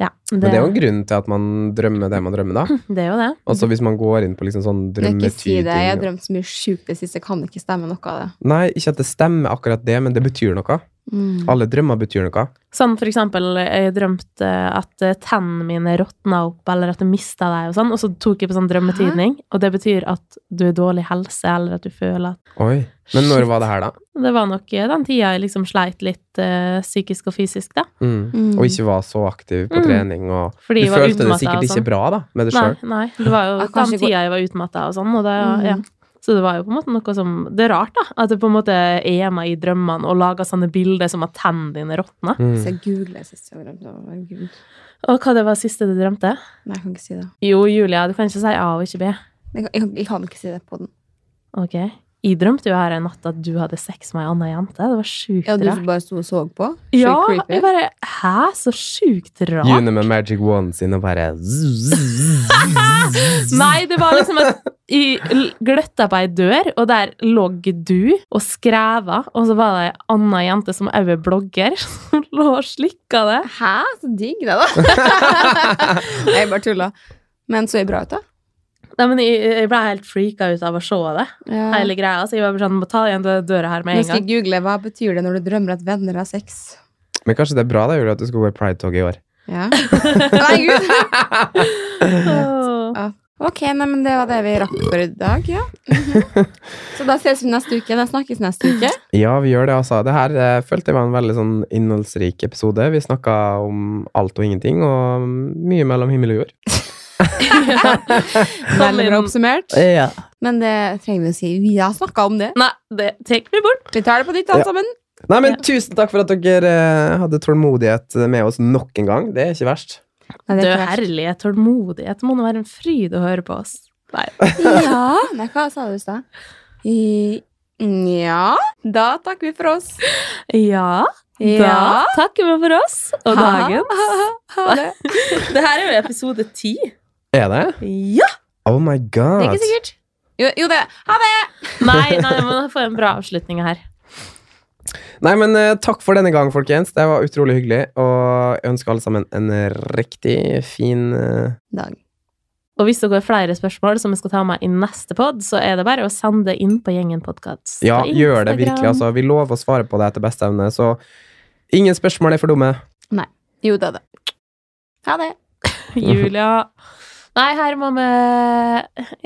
S3: Ja, det,
S1: Men det er jo en grunn til at man drømmer det man drømmer, da.
S3: det er jo det.
S1: Altså hvis man går inn på liksom sånn
S2: Men Ikke si Mm. det. Jeg har
S1: drømmetyding
S2: drømt så mye sjukt det siste. Jeg kan ikke stemme noe av det.
S1: Nei, ikke at det stemmer akkurat det, men det betyr noe.
S2: Mm.
S1: Alle drømmer betyr noe.
S3: Sånn for eksempel, jeg drømte at eh, tennene mine råtna opp, eller at jeg mista deg og sånn, og så tok jeg på sånn drømmetydning, og det betyr at du er dårlig helse, eller at du føler at
S1: Oi. Men når
S3: Shit.
S1: var det her, da?
S3: Det var nok eh, den tida jeg liksom sleit litt eh, psykisk og fysisk, da.
S1: Mm.
S2: Mm.
S1: Og ikke var så aktiv på
S3: Mm.
S1: trening og
S3: Fordi
S1: Du
S3: jeg var
S1: følte det
S3: utmattet
S1: sikkert
S3: og
S1: ikke
S3: sånn.
S1: bra da, med det
S3: Nei,
S1: sjøl.
S3: nei, det var jo
S2: Jeg kan
S3: den
S2: ikke gå-
S3: tida jeg var utmatta og sånn, og det,
S2: Mm.
S3: ja. Så det var jo på en måte noe som Det er rart, da. At det på en måte er meg i drømmene og lager sånne bilder som at tennene dine råtner.
S1: Mm.
S2: Så jeg googler sist jeg drømte. om. Herregud.
S3: Og hva det var siste du drømte?
S2: Nei, jeg kan ikke si det.
S3: Jo, Julia, du kan ikke si A og ikke B.
S2: Jeg kan, jeg kan, jeg kan ikke si det på den.
S3: Ok. Jeg drømte jo her en natt at du hadde sex med ei anna jente. Det var sjukt
S2: Ja, du
S3: rart.
S2: bare sto og så på? Sjukt
S3: Ja,
S2: creepy.
S3: jeg bare Hæ? Så sjukt rart.
S1: June med magic wand sin og bare
S3: Nei, det var liksom at jeg l- gløtta på ei dør, og der lå du og skreva, og så var det ei anna jente som òg er blogger, som lå og slikka det.
S2: Hæ? Så digg det, da. jeg bare tulla. Men så bra ut, da.
S3: Nei, men jeg, jeg ble helt freaka ut av å se det,
S2: Ja.
S3: hele greia. Så jeg var bare sånn, må ta igjen den døra her med
S2: Nå
S3: en
S2: skal
S3: gang.
S2: jeg google hva betyr det når du drømmer at venner har sex.
S1: Men kanskje det er bra da, Julie, at du skal gå i Pride-toget i år.
S2: Ja. Nei, gud.
S3: Åh.
S2: Ok, nei, men det var det vi rakk for i dag, ja. Mhm. Så da ses vi neste uke. Da snakkes neste uke.
S1: Ja, vi gjør det, altså. Det her eh, følte jeg var en veldig sånn innholdsrik episode. Vi snakka om alt og ingenting, og mye mellom himmel og jord.
S2: Veldig bra oppsummert.
S5: Ja.
S2: Men det trenger vi å si. Vi har snakka om det.
S3: Nei, det tar vi bort.
S2: Vi tar det på nytt, alle
S1: Ja.
S2: sammen.
S1: Nei, men
S3: Ja.
S1: tusen takk for at dere eh, hadde tålmodighet med oss nok en gang. Det er ikke verst.
S2: Nei,
S3: Død
S2: ikke verst.
S3: herlighet, tålmodighet. Må nå være en fryd å høre på oss. Nei.
S2: Ja. Nei, hva sa du i stad? I- Nja. Da takker vi for oss.
S3: Ja, da
S2: Ja.
S3: takker vi for oss og
S2: Ha-
S3: dagen.
S2: Ha det.
S3: Det her er jo episode ti.
S1: Er det?
S3: Ja!
S1: Oh my
S2: Det er
S1: god.
S2: ikke sikkert. Jo, jo det. Ha det!
S3: Nei, nei, men få en bra avslutning her.
S1: Nei, men eh, takk for denne gang, folkens. Det var utrolig hyggelig. Og jeg ønsker alle sammen en riktig fin eh,
S2: Dag.
S3: Og hvis det går flere spørsmål som vi skal ta med i neste pod, så er det bare å sende inn på Gjengen podkast.
S1: Ja, gjør det virkelig. Altså, vi lover å svare på det etter beste evne, så ingen spørsmål er for dumme.
S2: Jo, det er det. Ha det.
S1: altså.
S3: Julia. Nei, her må vi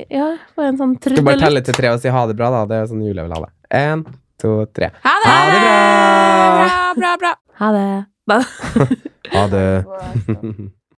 S3: Ja, få en sånn
S1: Du bare
S3: trudelutt.
S1: teller til tre og si ha det bra, da. Det er sånn Julie vil ha det. En, to, tre.
S2: Ha det!
S1: Ha det bra!
S2: Bra, bra, bra.
S3: Ha det. Nei.
S1: Ha det.